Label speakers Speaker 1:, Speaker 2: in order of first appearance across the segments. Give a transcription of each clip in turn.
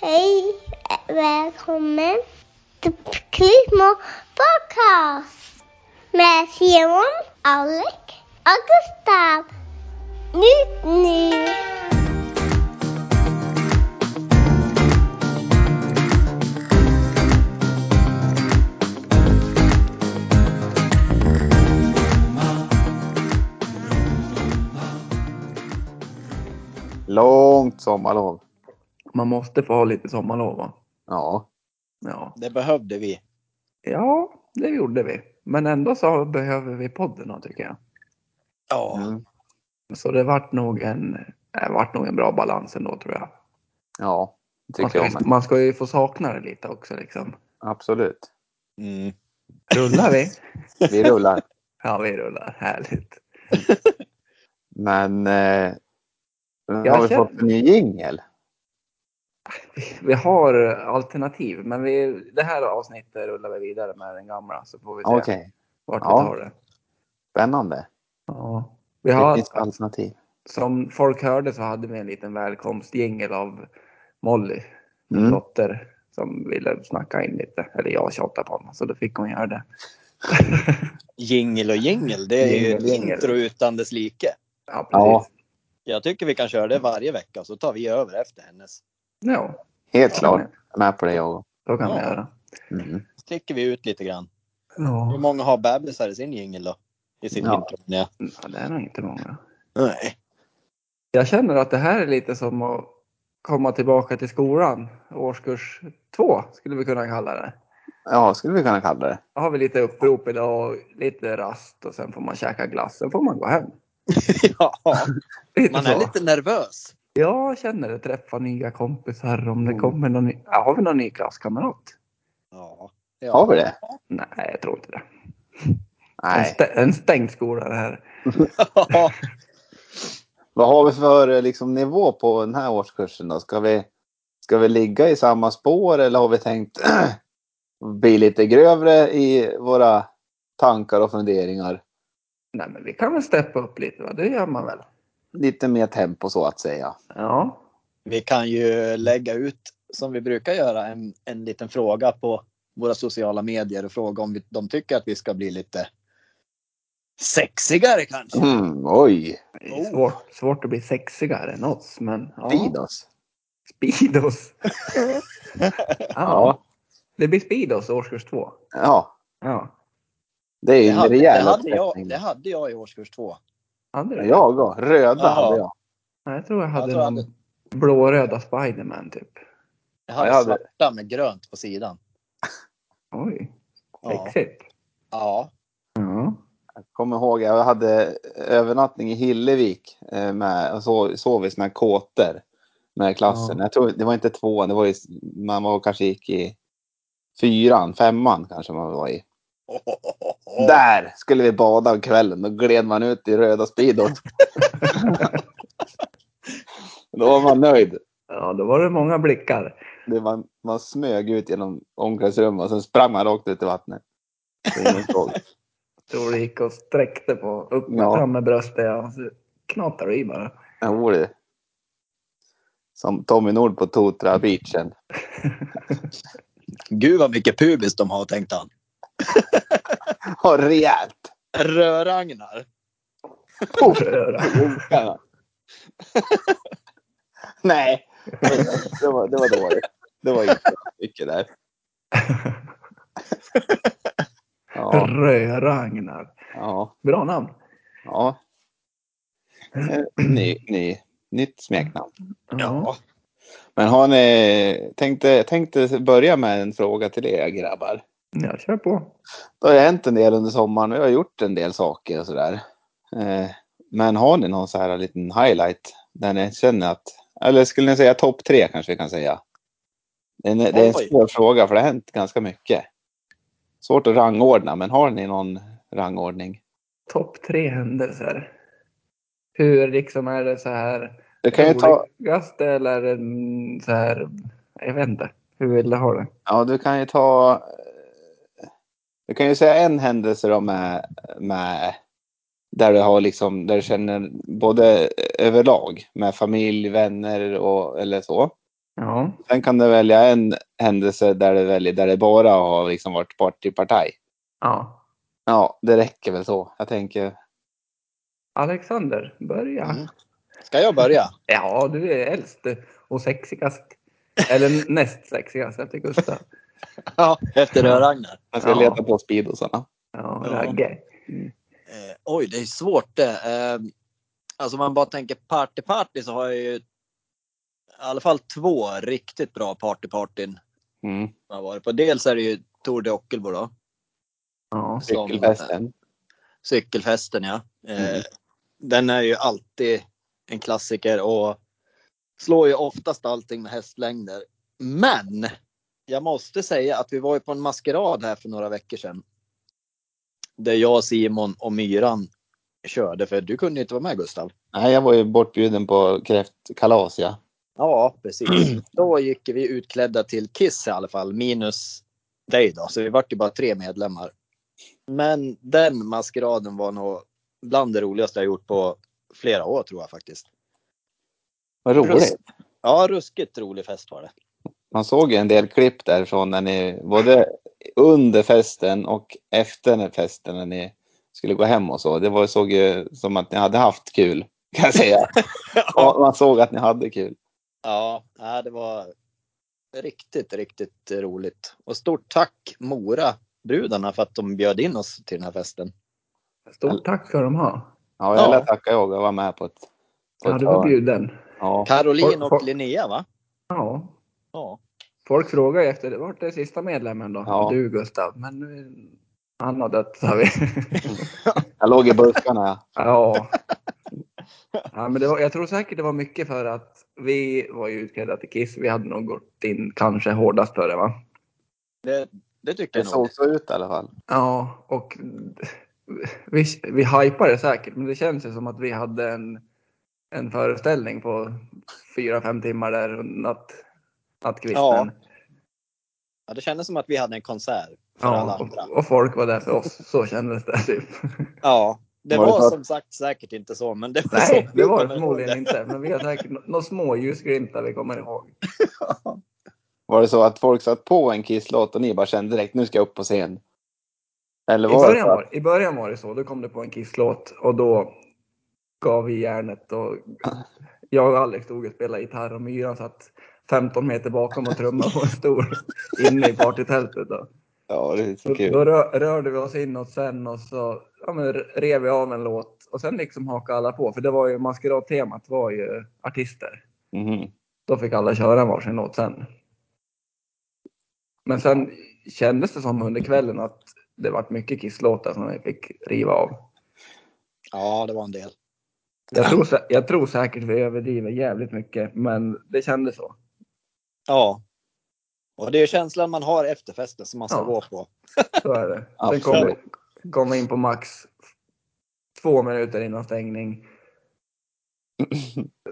Speaker 1: Hej, välkommen till Kristmo podcast med Simon, Alec och Gustav. Nytt nu!
Speaker 2: Långt sommarlov.
Speaker 3: Man måste få ha lite sommarlov va?
Speaker 2: Ja.
Speaker 3: Ja.
Speaker 4: Det behövde vi.
Speaker 3: ja, det gjorde vi. Men ändå så behöver vi podden då, tycker jag.
Speaker 4: Ja.
Speaker 2: Mm.
Speaker 3: Så det vart nog en, det vart nog en bra balans ändå tror jag.
Speaker 2: Ja, det
Speaker 3: Man
Speaker 2: tycker
Speaker 3: ska,
Speaker 2: jag
Speaker 3: ju,
Speaker 2: med.
Speaker 3: man ska ju få sakna det lite också liksom.
Speaker 2: Absolut.
Speaker 4: Mm.
Speaker 3: Rullar vi?
Speaker 2: Vi rullar.
Speaker 3: Ja, vi rullar. Härligt.
Speaker 2: Men eh,
Speaker 3: Jag
Speaker 2: har vi
Speaker 3: känner-
Speaker 2: fått en ny jingel?
Speaker 3: Vi, vi har alternativ, men vi, det här avsnittet rullar vi vidare med den gamla så får vi se
Speaker 2: Okej,
Speaker 3: vart vi
Speaker 2: Ja.
Speaker 3: tar det.
Speaker 2: spännande.
Speaker 3: Ja. Vi
Speaker 2: Det
Speaker 3: har,
Speaker 2: finns alternativ.
Speaker 3: som folk hörde så hade vi en liten välkomstjingel av Molly. min
Speaker 2: Mm.
Speaker 3: dotter som ville snacka in lite. Eller jag tjatade på honom så då fick hon göra det.
Speaker 4: Jingel och jingel, det är ju
Speaker 3: Jingel,
Speaker 4: ett
Speaker 3: jingel.
Speaker 4: intro utan dess like.
Speaker 3: Ja,
Speaker 2: Ja.
Speaker 3: precis.
Speaker 4: Jag tycker vi kan köra det varje vecka så tar vi över efter hennes.
Speaker 3: Ja,
Speaker 2: Helt
Speaker 3: så
Speaker 2: klart.
Speaker 3: kan
Speaker 2: Jag är med på det jag.
Speaker 3: vi- så kan vi
Speaker 4: Ja.
Speaker 3: göra.
Speaker 2: Mm.
Speaker 4: Sticker vi ut lite grann. Hur
Speaker 3: Ja.
Speaker 4: många har bebisar i sin jingel då? I sin
Speaker 2: Ja.
Speaker 4: intro menar jag.
Speaker 3: Det är nog inte många.
Speaker 4: Nej.
Speaker 3: Jag känner att det här är lite som att komma tillbaka till skolan. Årskurs två skulle vi kunna kalla det.
Speaker 2: Ja, skulle vi kunna kalla det.
Speaker 3: Då har vi lite upprop idag och lite rast och sen får man käka glass. Sen får man gå hem.
Speaker 4: Ja,
Speaker 3: Lite
Speaker 4: man
Speaker 3: så.
Speaker 4: är lite nervös.
Speaker 3: Jag känner det. Träffa nya kompisar om det
Speaker 2: Mm.
Speaker 3: kommer någon ny. Ja, har vi någon ny klasskamrat?
Speaker 4: Ja.
Speaker 2: Har vi det?
Speaker 3: Nej, jag tror inte det. En,
Speaker 2: Nej.
Speaker 3: stä- en stängd skola det här.
Speaker 4: Ja.
Speaker 2: Vad har vi för eh, liksom, nivå på den här årskursen då? Ska vi, ska vi ligga i samma spår eller har vi tänkt bli lite grövre i våra tankar och funderingar?
Speaker 3: Nej, men vi kan väl steppa upp lite, va? det gör man väl?
Speaker 2: lite mer tempo så att säga.
Speaker 3: Ja,
Speaker 4: Vi kan ju lägga ut, som vi brukar göra, en, en liten fråga på våra sociala medier och fråga om vi, de tycker att vi ska bli lite sexigare kanske.
Speaker 2: Mm, oj!
Speaker 3: det
Speaker 4: Oh.
Speaker 3: är svårt, svårt att bli sexigare än oss, men ja.
Speaker 2: Fidos.
Speaker 3: Speedos. ja.
Speaker 2: Ja.
Speaker 3: det blir Speedos årskurs två.
Speaker 2: Ja,
Speaker 3: Ja,
Speaker 2: det är
Speaker 4: Det
Speaker 2: ju en
Speaker 4: hade, det,
Speaker 2: rejäl
Speaker 4: hade jag,
Speaker 2: uppsättning.
Speaker 4: det hade jag i årskurs två.
Speaker 3: hade du?
Speaker 2: Jag då. Röda
Speaker 4: Ja.
Speaker 2: hade jag.
Speaker 3: Nej, jag tror jag hade
Speaker 4: tror jag
Speaker 3: någon blåröda Spiderman typ.
Speaker 4: Jag hade,
Speaker 2: Ja, jag hade-
Speaker 4: svarta med grönt på sidan.
Speaker 3: Oj,
Speaker 4: Ja.
Speaker 3: sexigt.
Speaker 4: ja.
Speaker 3: Ja.
Speaker 2: Jag kommer ihåg, jag hade övernattning i Hillevik eh, med, och så, sov i såna här kåtor med klassen.
Speaker 3: Ja.
Speaker 2: Jag tror, det var inte tvåan, det var ju, man var kanske gick i fyran, femman kanske man var i. Där skulle vi bada om kvällen. Då gled man ut i röda Speedos. då var man nöjd.
Speaker 3: ja, då var det många blickar.
Speaker 2: Det man, man smög ut genom omklädningsrummet och sen sprang man rakt ut i vattnet. Det är ingen fråga.
Speaker 3: Jag tror det gick och sträckte på, upp
Speaker 2: Ja.
Speaker 3: fram med bröstet och så knatade du i bara.
Speaker 2: Jag vore det. Som Tommy Nord på Totra beachen.
Speaker 4: Gud vad mycket pubis de har tänkt han.
Speaker 2: Ja, rejält!
Speaker 4: Rör-Ragnar.
Speaker 2: Puff!
Speaker 3: Röra.
Speaker 2: Munkarna. Nej, det var, det var dåligt. Det var inte mycket där. Ja,
Speaker 3: Rö-Ragnar.
Speaker 2: ja,
Speaker 3: Bra namn.
Speaker 2: ja. Eh, Ny, ny, nytt smeknamn.
Speaker 4: Ja.
Speaker 2: Men har ni, tänkte, tänkte börja med en fråga till er grabbar.
Speaker 3: Ja, kör på.
Speaker 2: Det har ju hänt en del under sommaren och jag har gjort en del saker och sådär. Eh, Men har ni någon så här liten highlight där ni känner att, eller skulle ni säga topp tre kanske vi kan säga? Det är, en- det är en
Speaker 4: Oj.
Speaker 2: svår fråga för det har hänt ganska mycket. Svårt att rangordna, men har ni någon rangordning?
Speaker 3: Topp tre händelser. Hur liksom är det så här?
Speaker 2: Det kan ju ta,
Speaker 3: Roligaste eller mm, så här? Jag vet inte. Hur vill du ha det?
Speaker 2: ja du kan ju ta, eh, du kan ju säga en händelse då med, med där du har liksom, där du känner både överlag med familj, vänner och eller så.
Speaker 3: Ja.
Speaker 2: Sen kan du välja en händelse där du väljer där det bara har liksom varit partypartaj.
Speaker 3: ja.
Speaker 2: Ja, det räcker väl så. Jag tänker,
Speaker 3: Alexander, börja.
Speaker 4: Mm. Ska jag börja?
Speaker 3: Ja, du är äldst och sexigast. Eller näst sexigast efter Gustav.
Speaker 4: Ja, efter Ragnar.
Speaker 2: jag ska
Speaker 3: Ja.
Speaker 2: leta på speedosarna.
Speaker 3: Ja,
Speaker 4: Ja.
Speaker 3: Ragge.
Speaker 4: Eh, oj, det är svårt det. Eh, alltså om man bara tänker party party så har jag ju i alla fall två riktigt bra party partyn.
Speaker 2: Mm.
Speaker 4: Jag har varit på. Dels är det ju Tour de Ockelbo då.
Speaker 3: Ja.
Speaker 4: som-
Speaker 2: Cykelfesten.
Speaker 4: Cykelfesten ja. Eh,
Speaker 2: Mm.
Speaker 4: Den är ju alltid en klassiker och slår ju oftast allting med hästlängder. Men jag måste säga att vi var ju på en maskerad här för några veckor sedan. Där jag, Simon och Myran körde för du kunde ju inte vara med Gustav.
Speaker 2: Nej, jag var ju bortbjuden på kräftkalas, ja.
Speaker 4: Ja, precis. Då gick vi utklädda till Kiss i alla fall, minus dig då. Så vi vart ju bara tre medlemmar. Men den maskeraden var nog bland det roligaste jag gjort på flera år tror jag faktiskt.
Speaker 2: Vad roligt.
Speaker 4: Ja, ruskigt rolig fest var det.
Speaker 2: Man såg ju en del klipp därifrån när ni, både under festen och efter när festen när ni skulle gå hem och så. Det var, såg ju som att ni hade haft kul, kan jag säga. Ja, Man såg att ni hade kul.
Speaker 4: Ja, nej, det var riktigt, riktigt roligt. Och stort tack Mora brudarna för att de bjöd in oss till den här festen.
Speaker 3: Stort tack ska de ha.
Speaker 2: Ja, jag
Speaker 4: Ja.
Speaker 2: lär tacka jag och var med på ett... På
Speaker 3: Ja,
Speaker 2: ett
Speaker 3: du var
Speaker 2: hörn.
Speaker 3: bjuden.
Speaker 2: Ja.
Speaker 4: Caroline
Speaker 3: Har-
Speaker 4: och
Speaker 3: har-
Speaker 4: Linnea va?
Speaker 3: Ja.
Speaker 4: Ja.
Speaker 3: Folk frågar ju efter, vart är sista medlemmen då?
Speaker 2: Ja.
Speaker 3: Du Gustav. Men nu, han har dött sa vi.
Speaker 2: Jag låg i buskarna. ja.
Speaker 3: ja. ja men det var, jag tror säkert det var mycket för att vi var ju utklädda till Kiss. Vi hade nog gått in kanske hårdast för det va?
Speaker 4: Det, det tycker
Speaker 2: Det
Speaker 4: jag
Speaker 2: såg
Speaker 4: nog.
Speaker 2: så ut i alla fall.
Speaker 3: Ja, och vi, vi hypar det säkert, men det känns ju som att vi hade en, en föreställning på fyra fem timmar där natt,
Speaker 4: Ja,
Speaker 3: nattkvisten.
Speaker 4: Ja, det kändes som att vi hade en konsert för alla
Speaker 3: Ja,
Speaker 4: andra.
Speaker 3: och, och folk var där för oss, så kändes det. Typ.
Speaker 4: Ja, det
Speaker 2: Var det
Speaker 4: var,
Speaker 2: så att-
Speaker 4: som sagt säkert inte så, men det var
Speaker 3: Nej,
Speaker 4: så vi
Speaker 3: det var det
Speaker 4: kommer ihåg
Speaker 3: förmodligen
Speaker 4: det.
Speaker 3: inte, men vi har säkert nå- några små ljusglimtar vi kommer ihåg.
Speaker 2: Var det så att folk satt på en kisslåt och ni bara kände direkt nu ska jag upp på scen? Eller
Speaker 3: I
Speaker 2: var det
Speaker 3: början
Speaker 2: så att,
Speaker 3: var, I början var det så, då kom det på en kisslåt och då gav vi järnet och jag och Alex stod och spelade gitarr och Myran satt 15 meter bakom och trummade på en stor inne i partytältet. Då,
Speaker 2: ja det är så
Speaker 3: då,
Speaker 2: kul.
Speaker 3: då rö- rörde vi oss inåt sen och så ja, men rev vi av en låt och sen liksom hakade alla på för det var ju maskeradtemat var ju artister.
Speaker 2: Mhm.
Speaker 3: Då fick alla köra varsin låt sen. Men sen kändes det som under kvällen att det var mycket kisslåtar som vi fick riva av.
Speaker 4: Ja, det var en del.
Speaker 3: Jag tror, sä- jag tror säkert vi överdriver jävligt mycket, men det kändes så.
Speaker 4: Ja. Och det är känslan man har efter festen som man ska
Speaker 3: Ja.
Speaker 4: gå på.
Speaker 3: Så är det. Sen
Speaker 2: Absolut.
Speaker 3: kom vi, kom vi in på max två minuter innan stängning.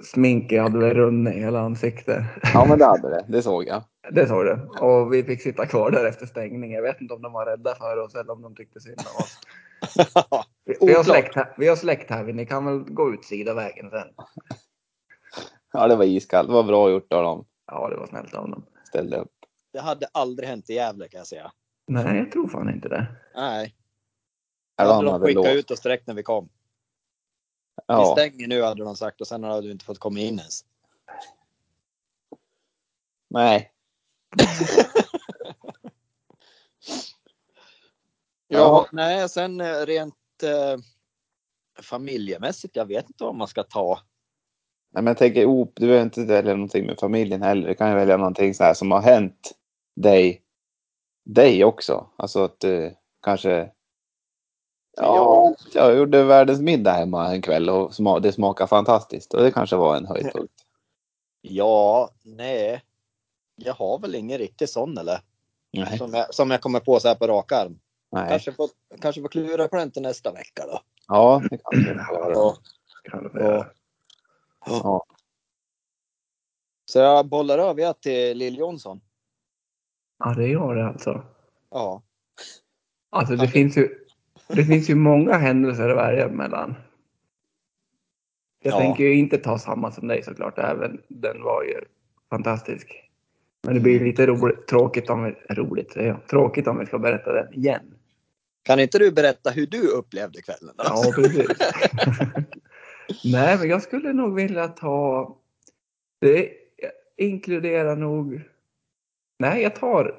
Speaker 3: Sminket hade väl runnit i hela ansiktet.
Speaker 2: Ja men det hade det, det såg jag.
Speaker 3: Det såg du. Och vi fick sitta kvar där efter stängning. Jag vet inte om de var rädda för oss eller om de tyckte synd om oss. Vi, vi, har,
Speaker 4: Oklart.
Speaker 3: släkt här, vi har släkt här, ni kan väl gå ut sidovägen sen.
Speaker 2: Ja det var iskallt, det var bra gjort av dem.
Speaker 3: Ja, det var snällt av dem.
Speaker 2: Ställde upp.
Speaker 4: Det hade aldrig hänt i Gävle kan jag säga.
Speaker 3: Nej, jag tror fan inte det.
Speaker 4: Nej, då
Speaker 2: Eller
Speaker 4: hade
Speaker 2: han
Speaker 4: de
Speaker 2: hade
Speaker 4: skickat
Speaker 2: låst.
Speaker 4: ut oss direkt när vi kom. Vi
Speaker 2: Ja.
Speaker 4: stänger nu hade de sagt och sen hade du inte fått komma in ens.
Speaker 2: Nej.
Speaker 4: Ja,
Speaker 2: Ja.
Speaker 4: nej, sen eh, rent eh, familjemässigt, jag vet inte vad man ska ta.
Speaker 2: Nej men jag tänker, oh, du behöver inte välja någonting med familjen heller. Du kan ju välja någonting så här som har hänt dig, dig också. Alltså att du kanske Ja, jag gjorde världens middag hemma en kväll och sma- det smakade fantastiskt och det kanske var en höjdpunkt.
Speaker 4: Ja, nej. Jag har väl ingen riktig sån eller?
Speaker 2: Nej.
Speaker 4: Som jag, som jag kommer på så här på rak arm.
Speaker 2: Nej.
Speaker 4: Kanske får, kanske får klura på den till nästa vecka då.
Speaker 2: Ja, det kan det vara.
Speaker 4: Ja.
Speaker 3: Kan det
Speaker 4: Ja.
Speaker 3: vara.
Speaker 2: Ja.
Speaker 4: Så jag bollar över er till Lill Jonsson.
Speaker 3: Ja, det gör det alltså.
Speaker 4: Ja.
Speaker 3: Alltså det finns ju, det finns ju många händelser att välja mellan. Jag
Speaker 4: Ja.
Speaker 3: tänker ju inte ta samma som dig såklart, även den var ju fantastisk. Men det blir lite roligt, tråkigt om vi, roligt, säger jag. tråkigt om vi ska berätta den igen.
Speaker 4: Kan inte du berätta hur du upplevde kvällen? Då?
Speaker 3: Ja, precis. Nej, men jag skulle nog vilja ta... Det inkluderar nog... Nej, jag tar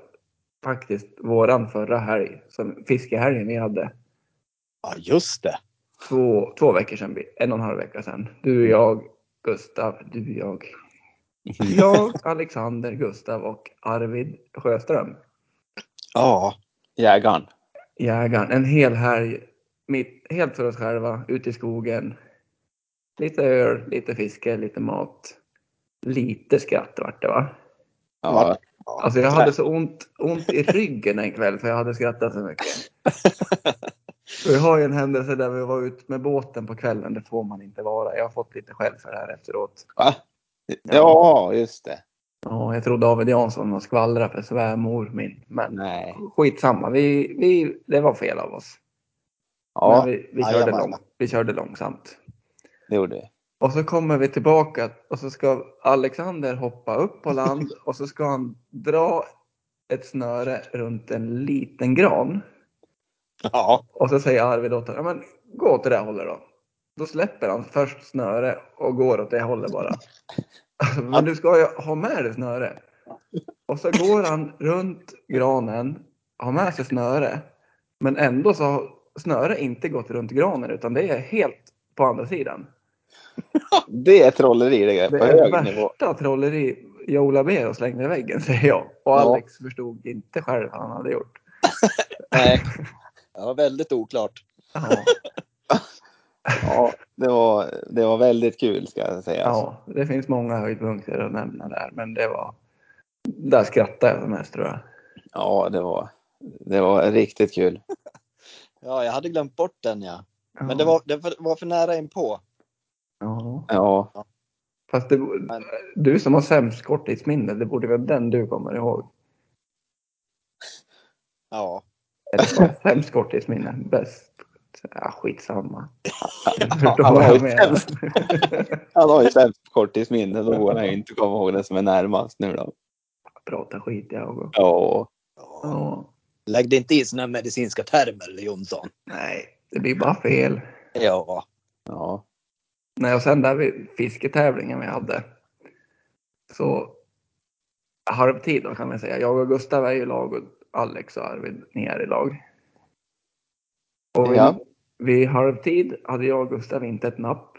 Speaker 3: faktiskt våran förra helg, som fiskehelgen vi hade.
Speaker 4: Ja, just det.
Speaker 3: Två, två veckor sedan, en och en halv vecka sedan. Du, jag, Gustav, du, jag. Jag, Alexander, Gustav och Arvid Sjöström.
Speaker 4: Ja,
Speaker 2: Jägaren.
Speaker 3: Jägaren. En hel helg. Mitt, helt för oss själva, ute i skogen. Lite öl, lite fiske, lite mat. Lite skratt vart det va?
Speaker 2: Ja.
Speaker 3: Alltså jag hade så ont, ont i ryggen en kväll för jag hade skrattat så mycket. Och jag har ju en händelse där vi var ute med båten på kvällen. Det får man inte vara. Jag har fått lite skäll för det här efteråt.
Speaker 2: Va? Ja, just det.
Speaker 3: Ja, jag tror David Jansson har skvallrat för svärmor min. Men
Speaker 2: Nej.
Speaker 3: skitsamma, vi, vi, det var fel av oss. Men
Speaker 2: Ja,
Speaker 3: vi, vi,
Speaker 4: Jajamän.
Speaker 3: körde lång, vi körde långsamt.
Speaker 2: det gjorde det.
Speaker 3: Och så kommer vi tillbaka och så ska Alexander hoppa upp på land och så ska han dra ett snöre runt en liten gran.
Speaker 4: Ja.
Speaker 3: Och så säger Arvid åt honom, ja, men gå åt det där hållet då. Då släpper han först snöre och går åt det hållet bara. Alltså, Men du ska ju ha med dig snöre. Och så går han runt granen, har med sig snöre. Men ändå så har snöre inte gått runt granen utan det är helt på andra sidan.
Speaker 2: Det är trolleri det är på
Speaker 3: Det är
Speaker 2: hög nivå.
Speaker 3: värsta trolleri Joe Labero slängde i väggen säger jag. Och
Speaker 2: Ja.
Speaker 3: Alex förstod inte själv vad han hade gjort.
Speaker 4: Nej. Det var väldigt oklart.
Speaker 3: Ja,
Speaker 2: Ja, det var, det var väldigt kul ska jag säga.
Speaker 3: ja, det finns många höjdpunkter att nämna där men det var... Där skrattade jag som mest tror jag.
Speaker 2: Ja, det var, det var riktigt kul.
Speaker 4: Ja, jag hade glömt bort den ja.
Speaker 3: Ja.
Speaker 4: Men det var, det var- var för nära inpå.
Speaker 3: Ja.
Speaker 2: Ja,
Speaker 3: Fast det, bo- du som har sämst korttidsminne, det borde väl den du kommer ihåg?
Speaker 4: Ja.
Speaker 3: Eller vad? sämst korttidsminne, bäst? Ja, skitsamma. Du förstår
Speaker 2: han
Speaker 3: vad
Speaker 2: har
Speaker 3: jag
Speaker 2: ju
Speaker 3: menar.
Speaker 2: han har ju sämst korttidsminne. Då går han ju inte komma ihåg den som är närmast nu då.
Speaker 3: Prata skit jag och...
Speaker 2: Ja,
Speaker 3: Ja.
Speaker 4: Lägg dig inte i såna här medicinska termer Jonsson.
Speaker 3: Nej, det blir bara fel.
Speaker 4: Ja.
Speaker 2: ja.
Speaker 3: Nej, och sen där vid fisketävlingen vi hade. Så halvtid då kan man säga. Jag och Gustav är ju lag och Alex och Arvid, ni är i lag. Och vid,
Speaker 2: Ja.
Speaker 3: vid halvtid hade jag och Gustav inte ett napp.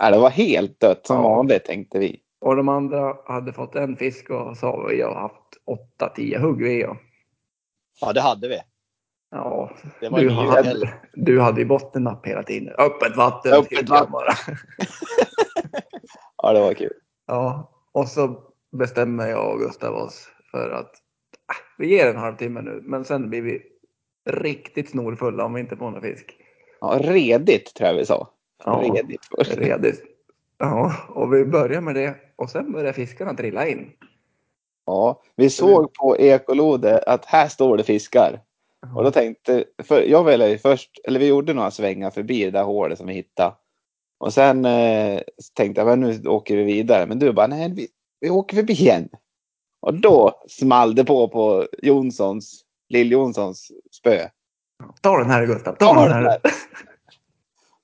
Speaker 2: Nej, det var helt dött som
Speaker 3: Ja.
Speaker 2: vanligt tänkte vi.
Speaker 3: Och de andra hade fått en fisk och sa vi har haft 8-10 hugg vi och.
Speaker 4: ja, det hade vi.
Speaker 3: Ja,
Speaker 4: Det var
Speaker 3: du
Speaker 4: ju-
Speaker 3: hade, du hade ju bottennapp hela tiden. Öppet vatten!
Speaker 2: Öppet
Speaker 3: skrek jag
Speaker 2: vatten.
Speaker 3: bara.
Speaker 2: Ja, det var kul.
Speaker 3: Ja, och så bestämmer jag och Gustav oss för att ah, vi ger en halvtimme nu, men sen blir vi riktigt snorfulla om vi inte får någon fisk.
Speaker 2: Ja, redigt tror jag vi sa. Redigt först.
Speaker 3: redigt. Ja, och vi börjar med det och sen börjar fiskarna trilla in.
Speaker 2: Ja, vi såg på ekolodet att här står det fiskar. Och då tänkte, för jag ville ju först, eller vi gjorde några svängar förbi det där hålet som vi hittade. Och sen eh, så tänkte jag, men nu åker vi vidare. Men du bara, nej, vi, vi åker förbi igen. Och då small det på på Jonssons, Lill-Jonssons spö.
Speaker 3: Ta den här Gustav, ta den här!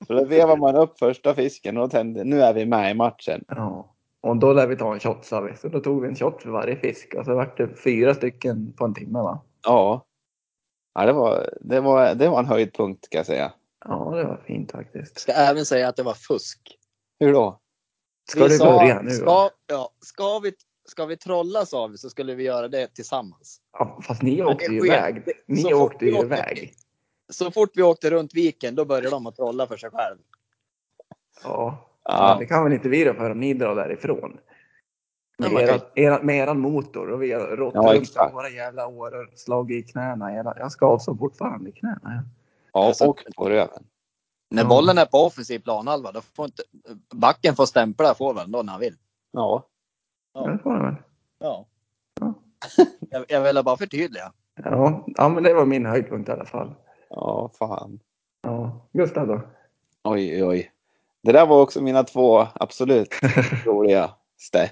Speaker 2: Så då vevar man upp första fisken och då tänkte nu är vi med i matchen.
Speaker 3: Ja. Och då lär vi ta en shot sa vi. Så då tog vi en shot för varje fisk och så vart det fyra stycken på en timme va?
Speaker 2: Ja. Ja, det var, det var, det var en höjdpunkt ska jag säga.
Speaker 3: Ja, det var fint faktiskt.
Speaker 4: Ska även säga att det var fusk.
Speaker 2: Hur då?
Speaker 3: Ska
Speaker 4: Vi
Speaker 3: du
Speaker 4: sa,
Speaker 3: börja nu? va?
Speaker 4: Ska, ja, ska, vi, ska vi trolla sa vi så skulle vi göra det tillsammans.
Speaker 3: Ja, fast ni
Speaker 4: det
Speaker 3: åkte ju
Speaker 4: sker.
Speaker 3: iväg.
Speaker 4: Det-
Speaker 3: Ni
Speaker 4: så fort
Speaker 3: åkte
Speaker 4: vi
Speaker 3: ju
Speaker 4: åker-
Speaker 3: iväg.
Speaker 4: Så fort vi åkte runt viken då började de att trolla för sig själv.
Speaker 3: Ja. Men
Speaker 2: Ja,
Speaker 3: det kan väl inte vi då för om ni drar därifrån? Med,
Speaker 4: Men man kan-
Speaker 3: era, era, med eran motor och vi har rått
Speaker 2: Ja,
Speaker 3: runt
Speaker 2: exakt.
Speaker 3: på våra jävla år och slagit i knäna. Era, jag skavs så fortfarande i knäna. ja.
Speaker 2: ja och på röven.
Speaker 4: När
Speaker 3: Ja.
Speaker 4: bollen är på offensiv planhalva då får inte backen får stämpla forwarden då när han vill.
Speaker 2: Ja.
Speaker 4: Ja.
Speaker 3: Det får ni väl.
Speaker 4: Ja.
Speaker 3: Ja.
Speaker 4: Jag, jag ville bara förtydliga.
Speaker 3: Ja. ja, men det var min höjdpunkt i alla fall.
Speaker 2: Ja, fan.
Speaker 3: Ja. Gustav då?
Speaker 2: Oj, oj, oj. Det där var också mina två absolut roligaste.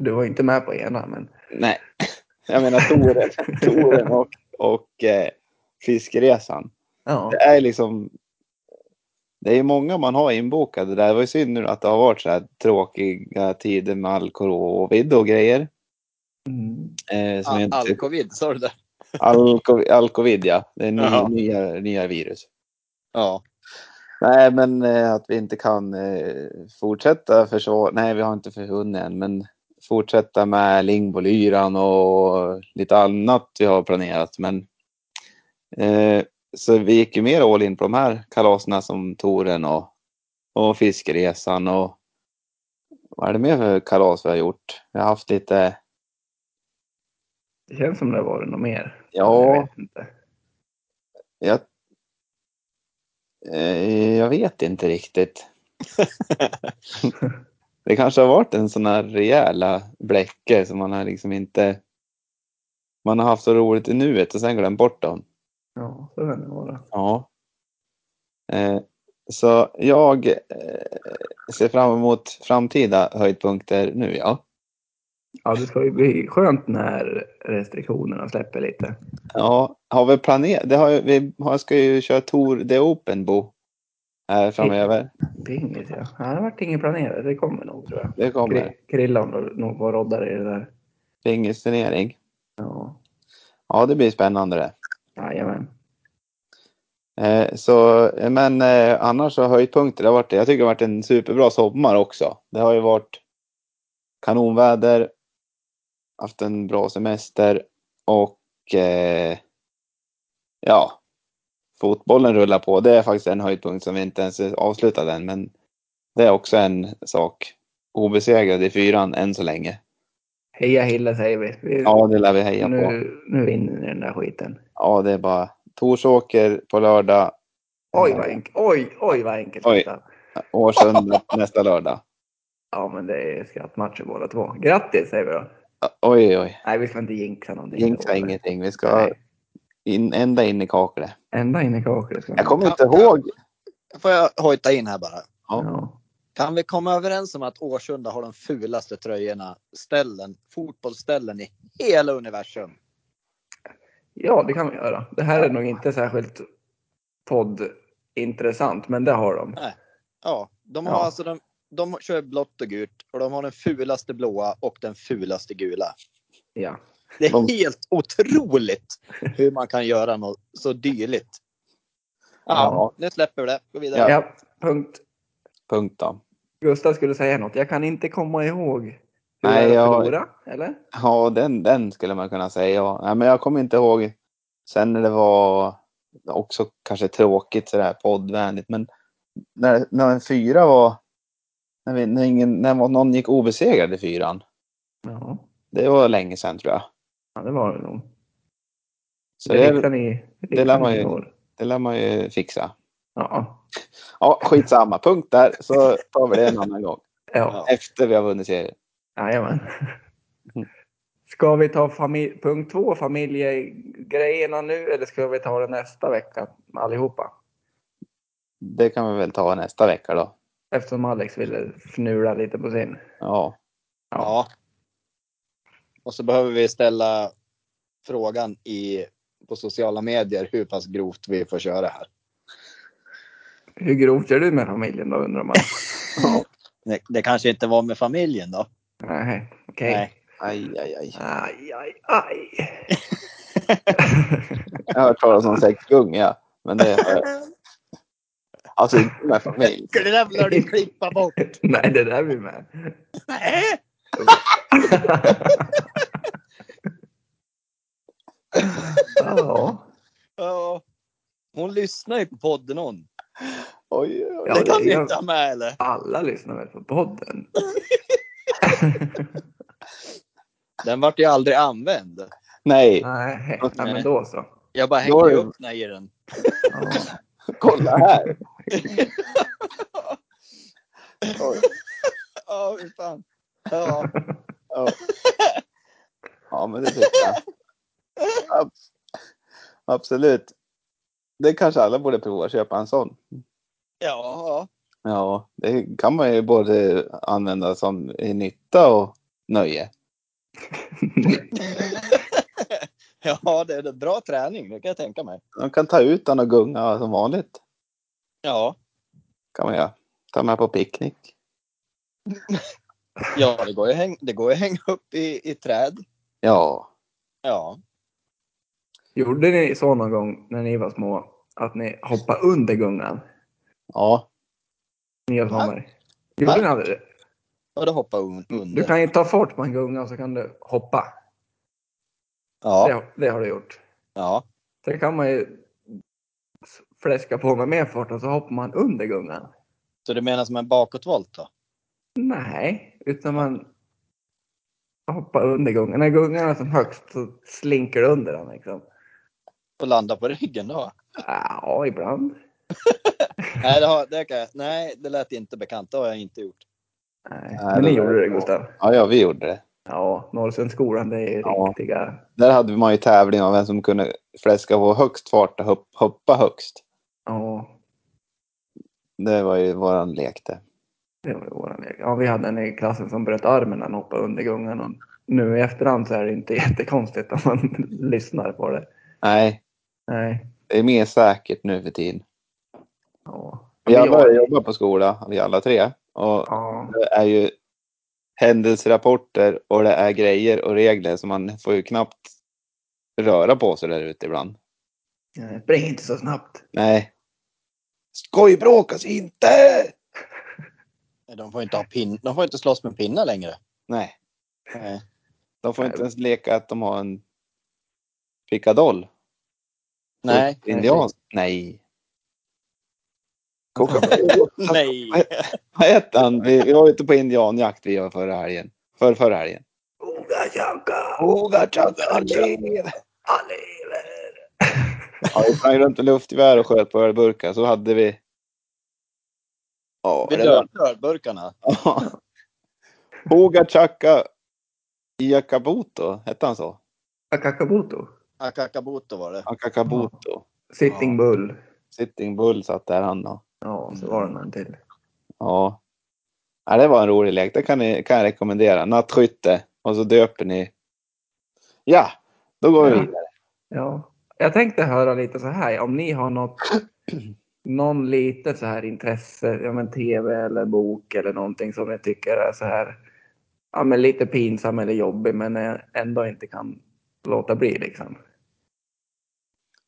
Speaker 3: Du var ju inte med på ena, men
Speaker 2: Nej, jag menar Toren, toren och, och eh, Fiskresan.
Speaker 3: ja.
Speaker 2: Det är liksom... Det är många man har inbokade där. Det var ju synd nu att det har varit så här tråkiga tider med alkovid och grejer.
Speaker 3: Mm.
Speaker 2: Eh, som
Speaker 4: Al-
Speaker 2: inte-
Speaker 4: Alcovid, sa du det?
Speaker 2: Alko, alkovid, ja. Det är nya,
Speaker 4: Jaha.
Speaker 2: nya, nya virus.
Speaker 4: Ja.
Speaker 2: Nej, men eh, att vi inte kan eh, fortsätta försvara... Nej, vi har inte förhunnit än, men fortsätta med Lingbolyran och lite annat vi har planerat. Men, eh, så vi gick ju mer all in på de här kalaserna som Toren och, och Fiskresan och vad är det mer för kalas vi har gjort? Vi har haft lite,
Speaker 3: Det känns som det har varit något mer.
Speaker 2: ja,
Speaker 3: Jag vet inte.
Speaker 2: Jag, eh, jag vet inte riktigt. det kanske har varit en sån här rejäla bläcke som man har liksom inte... Man har haft så roligt i nuet och sen glömt bort dem.
Speaker 3: Ja, så kan det vara.
Speaker 2: Ja. Eh, så jag eh, ser fram emot framtida höjdpunkter nu, ja.
Speaker 3: Ja, det ska ju bli skönt när restriktionerna släpper lite.
Speaker 2: Ja, har vi planerat? Det har, ju- vi har, ska ju köra Tour de Openbo här framöver.
Speaker 3: Pingis, ja. Nej, Det vart inget planerat. Det kommer nog, tror jag.
Speaker 2: Det kommer.
Speaker 3: Kri- Krillan var- nog var roddare i det där.
Speaker 2: Pingisturnering.
Speaker 3: Ja,
Speaker 2: Ja, det blir spännande det.
Speaker 3: jajamän.
Speaker 2: Eh, så, eh, men eh, annars så höjdpunkter, det har varit, jag tycker det har varit en superbra sommar också. Det har ju varit kanonväder, haft en bra semester och eh, ja, fotbollen rullar på. Det är faktiskt en höjdpunkt som vi inte ens är avslutade än, men det är också en sak. Obesegrad i fyran än så länge.
Speaker 3: Heja Hille säger vi. vi
Speaker 2: Ja, det lär vi heja på.
Speaker 3: nu, nu vinner ni den där skiten.
Speaker 2: Ja, det är bara Torsåker på lördag.
Speaker 3: Oj,
Speaker 2: Eh,
Speaker 3: vad enkelt. Oj, oj, vad enkelt.
Speaker 2: Oj. Eh, Årsunda nästa lördag.
Speaker 3: Ja, men det är skrattmatcher båda två. Grattis säger vi då.
Speaker 2: Oj, oj.
Speaker 3: Nej, vi ska inte jinxa någonting.
Speaker 2: Jinxa ingenting. Vi ska
Speaker 3: Nej,
Speaker 2: in, ända in i kaklet.
Speaker 3: Ända in i kaklet ska
Speaker 2: Jag
Speaker 3: vi.
Speaker 2: kommer inte
Speaker 4: Ja.
Speaker 2: ihåg.
Speaker 4: Får jag hojta in här bara?
Speaker 3: Ja.
Speaker 4: Kan vi komma överens om att Årsunda har de fulaste tröjorna, ställen, fotbollsställen i hela universum?
Speaker 3: ja, det kan vi göra. Det här är nog inte särskilt poddintressant, men det har de.
Speaker 4: Ja, de har
Speaker 3: Ja.
Speaker 4: alltså de, de kör blått och gult och de har den fulaste blåa och den fulaste gula.
Speaker 3: Ja.
Speaker 4: Det är
Speaker 2: De-
Speaker 4: helt otroligt hur man kan göra något så dyligt. Ja,
Speaker 3: Ja.
Speaker 4: nu släpper vi det. Gå
Speaker 3: Ja.
Speaker 4: vidare. Ja.
Speaker 3: punkt.
Speaker 2: Punkt då.
Speaker 3: Gustav skulle säga något. Jag kan inte komma ihåg. hur
Speaker 2: Nej,
Speaker 3: det är att
Speaker 2: jag-
Speaker 3: förlora, eller?
Speaker 2: Ja, den, den skulle man kunna säga. Ja. Nej, men jag kommer inte ihåg. Sen när det var också kanske tråkigt sådär poddvänligt. Men när, när en fyra var. När, vi, när, ingen, när någon gick obesegrad i fyran.
Speaker 3: Ja,
Speaker 2: Det var länge sedan tror jag.
Speaker 3: ja det var det nog.
Speaker 2: Så
Speaker 3: Det
Speaker 2: det,
Speaker 3: riktar ni.
Speaker 2: det
Speaker 3: riktar
Speaker 2: lär man
Speaker 3: ni
Speaker 2: ju-
Speaker 3: i år.
Speaker 2: det lär man ju fixa.
Speaker 3: Ja.
Speaker 2: Ja, skitsamma. Punkt där. Så tar vi det en annan gång.
Speaker 3: Ja.
Speaker 2: Efter vi har vunnit serien.
Speaker 3: Jajamän.
Speaker 2: Mm.
Speaker 3: Ska vi ta famil- punkt två, familjegrejerna nu eller ska vi ta det nästa vecka allihopa?
Speaker 2: Det kan vi väl ta nästa vecka då.
Speaker 3: Eftersom Alex ville fnula lite på sin.
Speaker 2: Ja,
Speaker 4: Ja. Och så behöver vi ställa frågan i, på sociala medier hur pass grovt vi får köra här.
Speaker 3: Hur grovt gör du med familjen då undrar man?
Speaker 4: Det, det kanske inte var med familjen då?
Speaker 3: Nej, okej.
Speaker 4: Nej.
Speaker 2: aj, aj, aj.
Speaker 3: Aj, aj, aj.
Speaker 2: Jag har hört talas om sexgung, ja. Men det har jag. Alltså inte med familj.
Speaker 4: Det där lär du klippa bort.
Speaker 3: Nej, det där vi med.
Speaker 4: Nej.
Speaker 3: ja,
Speaker 4: Ja. Hon lyssnar ju på podden hon.
Speaker 2: Oj, oj,
Speaker 3: Ja,
Speaker 4: det kan
Speaker 3: det-
Speaker 4: vi
Speaker 3: jag-
Speaker 4: inte ha med eller?
Speaker 3: alla lyssnar väl på podden?
Speaker 4: Den vart ju aldrig använd.
Speaker 2: Nej,
Speaker 3: Nej, nej, men då så.
Speaker 4: Jag bara
Speaker 2: Då är
Speaker 4: hängde
Speaker 2: det-
Speaker 4: upp mig i den.
Speaker 3: Ja.
Speaker 2: kolla här. Oj,
Speaker 4: Ja, fy fan. Ja.
Speaker 2: ja. ja, men det tycker jag. Abs- Absolut. Det kanske alla borde prova, köpa en sån.
Speaker 4: ja.
Speaker 2: Ja, det kan man ju både använda som i nytta och nöje.
Speaker 4: ja, det är en bra träning, det kan jag tänka mig.
Speaker 2: Man kan ta ut den och gunga som vanligt.
Speaker 4: Ja,
Speaker 2: kan man göra. Ta med på picknick.
Speaker 4: ja det går ju att häng- det går ju att hänga upp i, i träd.
Speaker 2: Ja.
Speaker 4: Ja.
Speaker 3: Gjorde ni så någon gång när ni var små? Att ni hoppade under gungan?
Speaker 2: Ja.
Speaker 3: Nya sommar. Gjorde
Speaker 4: Nej.
Speaker 3: ni aldrig det?
Speaker 4: Och då hoppar un- under.
Speaker 3: Du kan ju ta fart på en gunga och så kan du hoppa.
Speaker 4: Ja,
Speaker 3: Det, det har du gjort.
Speaker 4: ja.
Speaker 3: Sen kan man ju fläska på med mer fart och så hoppar man under gungan.
Speaker 4: Så du menar som en bakåtvolt då?
Speaker 3: Nej, utan man hoppar under gungan. När gungan är som högst så slinker du under den liksom.
Speaker 4: Och landa på ryggen då?
Speaker 3: Ja, ibland.
Speaker 4: Nej, det, har, det, kan jag, nej, det lät inte bekant. Det har jag inte gjort.
Speaker 3: Nej.
Speaker 2: Nej,
Speaker 3: Men ni
Speaker 2: det-
Speaker 3: gjorde det Gustav?
Speaker 2: Ja, ja, vi gjorde det.
Speaker 3: Ja, Norrsundsskolan det är ju
Speaker 2: Ja.
Speaker 3: riktiga...
Speaker 2: Där hade man ju tävling om vem som kunde fläska på högst fart och hopp, hoppa högst.
Speaker 3: Ja,
Speaker 2: Det var ju våran lek det.
Speaker 3: det var ju våran lek. Ja, vi hade en i klassen som bröt armen när han hoppade under gungan. Och nu i efterhand så är det inte jättekonstigt om man lyssnar på det.
Speaker 2: Nej,
Speaker 3: Nej.
Speaker 2: det är mer säkert nu för tiden.
Speaker 3: Ja.
Speaker 2: Vi alla
Speaker 3: har-
Speaker 2: har jobbat på skola, vi alla tre. Och
Speaker 3: Ja,
Speaker 2: det är ju händelserapporter och det är grejer och regler så man får ju knappt röra på sig där ute ibland.
Speaker 3: nej, spring inte så snabbt.
Speaker 2: Nej. Skojbråkas inte!
Speaker 4: De får inte, ha pin, de får inte slåss med pinnar längre.
Speaker 2: Nej,
Speaker 4: Nej.
Speaker 2: de får
Speaker 3: Nej.
Speaker 2: inte ens leka att de har en pickadoll.
Speaker 4: Nej.
Speaker 2: Indiansk. Nej. Koka.
Speaker 4: Nej.
Speaker 2: Vad hette han? Vi, vi var ute på indianjakt vi var förra helgen. För förra helgen.
Speaker 3: Oga tjaka, han lever!
Speaker 2: Ja, vi sprang runt med luftgevär och sköt på ölburkar. Så hade vi... Ja,
Speaker 4: Vi
Speaker 2: det var-
Speaker 4: dör ölburkarna.
Speaker 2: Ja. Hoga Chaka Iakabuto, hette han så?
Speaker 3: Akakabuto,
Speaker 4: Akakabuto var det.
Speaker 2: Akakabuto.
Speaker 3: Sitting Bull.
Speaker 2: Sitting Bull satt där han då.
Speaker 3: Ja, så var det
Speaker 2: Mm.
Speaker 3: någon till.
Speaker 2: Ja. ja. Det var en rolig lek. Det kan, ni, kan jag rekommendera. Nattskytte. Och så döper ni. Ja, då går vi
Speaker 4: Mm.
Speaker 3: Ja.
Speaker 2: vidare.
Speaker 3: Ja. Jag tänkte höra lite så här, om ni har något, någon lite så här intresse, ja men tv eller bok eller någonting som ni tycker är så här, ja men lite pinsam eller jobbig men eh, ändå inte kan låta bli liksom.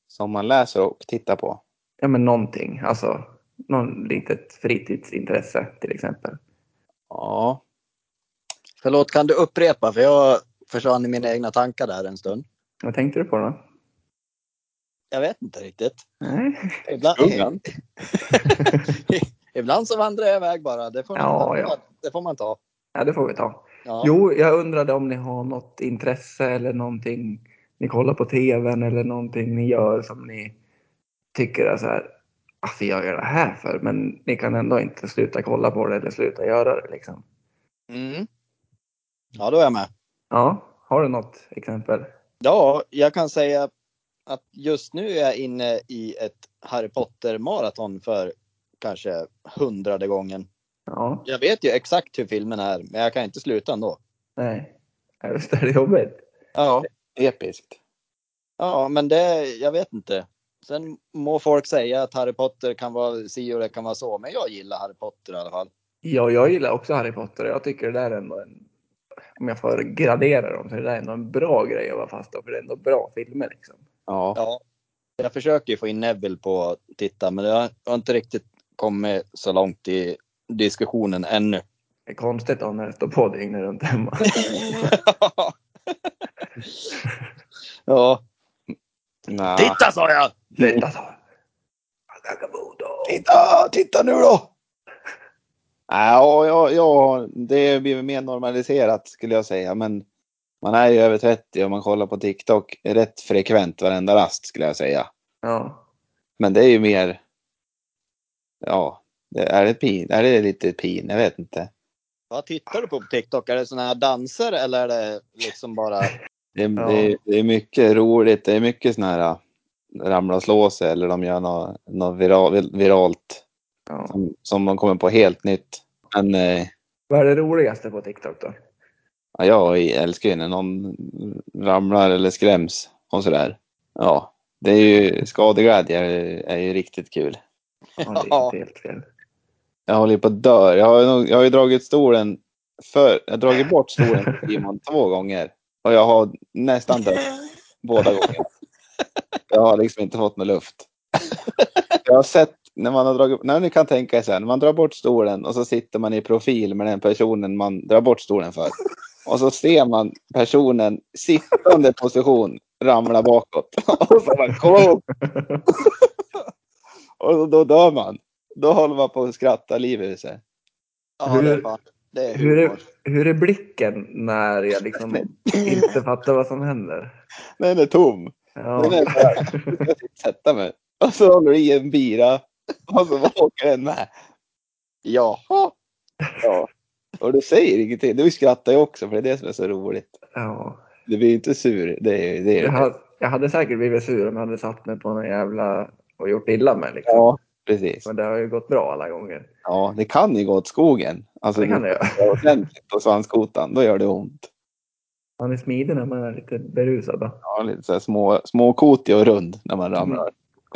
Speaker 2: Som man läser och tittar på.
Speaker 3: Ja men någonting, alltså någon litet fritidsintresse till exempel.
Speaker 2: Ja.
Speaker 4: Förlåt, kan du upprepa? För jag försvann i mina egna tankar där en stund.
Speaker 3: Vad tänkte du på då?
Speaker 4: Jag vet inte riktigt.
Speaker 3: Nej?
Speaker 4: Ibland,
Speaker 2: Skuggan.
Speaker 4: ibland så vandrar jag iväg bara. Det får,
Speaker 3: Ja,
Speaker 4: man,
Speaker 3: ja.
Speaker 4: Det får man ta.
Speaker 3: Ja det får vi ta.
Speaker 4: Ja.
Speaker 3: Jo, jag undrade om ni har något intresse eller någonting ni kollar på tvn eller någonting ni gör som ni tycker är så här. Alltså jag gör det här för men ni kan ändå inte sluta kolla på det eller sluta göra det liksom.
Speaker 4: Mm. Ja, då är jag med.
Speaker 3: Ja, har du något exempel?
Speaker 4: Ja, jag kan säga att just nu är jag inne i ett Harry Potter-maraton för kanske hundrade gången.
Speaker 3: Ja,
Speaker 4: Jag vet ju exakt hur filmen är, men jag kan inte sluta ändå.
Speaker 3: nej. Ja, Visst är det jobbigt?
Speaker 4: Ja,
Speaker 2: Episkt.
Speaker 4: ja men det, jag vet inte. Sen må folk säga att Harry Potter kan vara si och det kan vara så, men jag gillar Harry Potter i alla fall.
Speaker 3: Ja, jag gillar också Harry Potter och jag tycker det där är ändå en, om jag får gradera dem så är det där ändå en bra grej att vara fast då, för det är ändå bra filmer liksom.
Speaker 2: Ja.
Speaker 4: Ja, jag försöker ju få in Neville på att titta, men jag har inte riktigt kommit så långt i diskussionen ännu.
Speaker 3: Det är konstigt då när det står på dygnet runt hemma.
Speaker 4: ja.
Speaker 2: Nja.
Speaker 4: Titta sa jag!
Speaker 3: Titta så! Akakabuto!
Speaker 2: Titta, titta nu då! Ja, ja, ja, det har blivit mer normaliserat skulle jag säga. Men man är ju över 30 och man kollar på TikTok rätt frekvent varenda rast skulle jag säga.
Speaker 3: Ja.
Speaker 2: Men det är ju mer... Ja, det är, det pin, är det lite pin? Jag vet inte.
Speaker 4: Vad tittar du på på TikTok? Är det såna här danser eller är det liksom bara...
Speaker 2: Det, är-
Speaker 3: Ja.
Speaker 2: det, är- det är mycket roligt. Det är mycket sådana här ramla och slå sig eller de gör något, något viral, viralt
Speaker 3: ja.
Speaker 2: som, som de kommer på helt nytt. Men eh,
Speaker 3: Vad är det roligaste på TikTok då?
Speaker 2: Ja, jag älskar ju när någon ramlar eller skräms och sådär. Ja, det är ju skadeglädje är ju riktigt kul.
Speaker 3: Ja, det är inte helt fel.
Speaker 2: Jag håller ju på att dö. Jag har, ju nog- jag har ju dragit stolen för, jag har dragit bort stolen för Simon två gånger och jag har nästan dött båda gångerna. Jag har liksom inte fått någon luft. Jag har sett när man har dragit, när ni kan tänka er så här, när man drar bort stolen och så sitter man i profil med den personen man drar bort stolen för. Och så ser man personen sittande position ramla bakåt. Och så bara, kom upp! Och då, då dör man. Då håller man på att skratta livet ur sig.
Speaker 4: Ja, det är
Speaker 3: Hur-
Speaker 4: fan. Det är
Speaker 3: Hur är,
Speaker 4: humor.
Speaker 3: hur är blicken när jag liksom inte fattar vad som händer?
Speaker 2: Den är tom. Den
Speaker 3: Ja,
Speaker 2: är bara, jag ska sätta mig. Och så håller du i en bira. Och så bara åker den med. Jaha. Ja. Och du säger ingenting. Du skrattar ju också för det är det som är så roligt.
Speaker 3: ja.
Speaker 2: Du blir ju inte sur. Det är ju det. Är
Speaker 3: Jag,
Speaker 2: ju-
Speaker 3: hade, jag hade säkert blivit sur om jag hade satt mig på någon jävla och gjort illa mig. Liksom.
Speaker 2: Ja, precis.
Speaker 3: Men det har ju gått bra alla gånger.
Speaker 2: Ja, det kan ju gå åt skogen. Alltså,
Speaker 3: Det kan det göra.
Speaker 2: Ja, ordentligt på svanskotan, då gör det ont.
Speaker 3: Man är smidig när man är lite berusad. Då.
Speaker 2: Ja, lite så här små, småkotig och rund när man ramlar.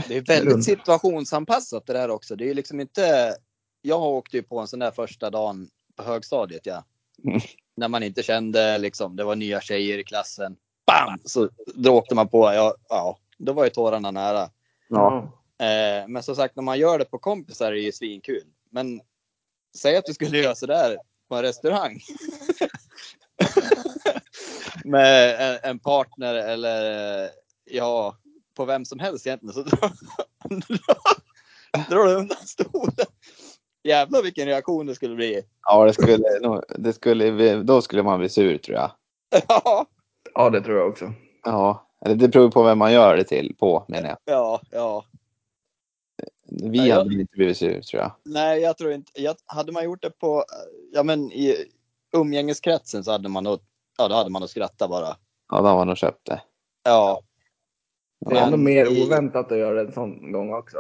Speaker 4: Det är väldigt
Speaker 3: Lund.
Speaker 4: situationsanpassat det där också. Det är ju liksom inte. Jag åkte ju på en sån där första dagen på högstadiet. Ja.
Speaker 2: Mm.
Speaker 4: När man inte kände liksom. Det var nya tjejer i klassen. Bam! Så då åkte man på. Ja, ja då var ju tårarna nära. Eh, men som sagt, när man gör det på kompisar är det ju svinkul. Men säg att du skulle göra sådär på en restaurang. Med en, en partner eller eh, ja, på vem som helst egentligen. Så drar, drar du undan stolen. Jävlar vilken reaktion det skulle bli.
Speaker 2: Ja, det skulle, nog- det skulle, bli- då skulle man bli sur tror jag.
Speaker 4: ja,
Speaker 3: Ja, det tror jag också.
Speaker 2: Ja, eller det beror på vem man gör det till på menar jag.
Speaker 4: ja, ja.
Speaker 2: Vi
Speaker 4: Ja, jag-
Speaker 2: hade inte blivit sur tror jag.
Speaker 4: Nej, jag tror inte. Jag, hade man gjort det på, eh, ja men i umgängeskretsen så hade man nog, ja då hade man nog skrattat bara.
Speaker 2: Ja, då var nog köpt det.
Speaker 4: Ja,
Speaker 3: Det är ändå
Speaker 4: Men
Speaker 3: mer
Speaker 4: i-
Speaker 3: oväntat att göra det en sån gång också.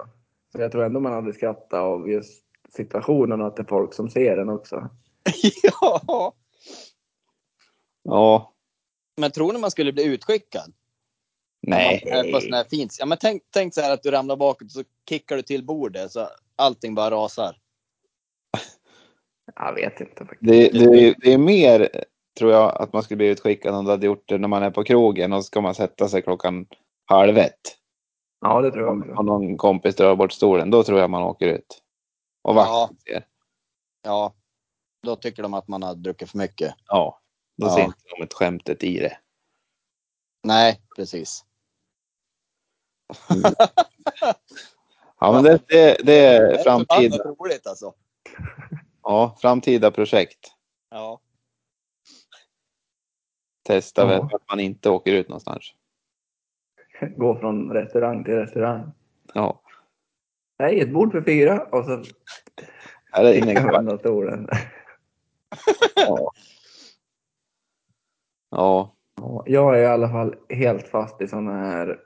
Speaker 3: Så jag tror ändå man hade skrattat av just situationen och att det är folk som ser den också.
Speaker 4: ja.
Speaker 2: Ja,
Speaker 4: Men tror ni man skulle bli utskickad? Äh,
Speaker 2: nej.
Speaker 4: Om man är På sån här fint. Ja, men tänk, tänk så här att du ramlar bakåt och så kickar du till bordet så allting bara rasar.
Speaker 3: Jag vet inte faktiskt.
Speaker 2: Det, det, är- det är mer tror jag att man skulle bli utskickad om du hade gjort det när man är på krogen och så ska man sätta sig klockan halv ett.
Speaker 3: Ja, det tror jag
Speaker 2: Om,
Speaker 3: också.
Speaker 2: om någon kompis drar bort stolen, då tror jag man åker ut. Och vakten ser.
Speaker 4: Ja, då tycker de att man har druckit för mycket.
Speaker 2: Ja. Då
Speaker 4: Ja.
Speaker 2: ser inte de ett skämtet i det.
Speaker 4: Nej, precis.
Speaker 2: Ja, men det, det, det
Speaker 4: Det
Speaker 2: är
Speaker 4: är förbannat
Speaker 2: framtida,
Speaker 4: roligt alltså.
Speaker 2: ja, framtida projekt.
Speaker 4: Ja,
Speaker 2: Testa
Speaker 3: Ja.
Speaker 2: väl att man inte åker ut någonstans.
Speaker 3: Gå från restaurang till restaurang.
Speaker 2: Ja.
Speaker 3: Nej, ett bord för fyra och så
Speaker 2: Här är inne en
Speaker 3: sticker
Speaker 2: kvart.
Speaker 3: man undan stolen.
Speaker 2: Ja. ja.
Speaker 3: Ja, Jag är i alla fall helt fast i sådana här,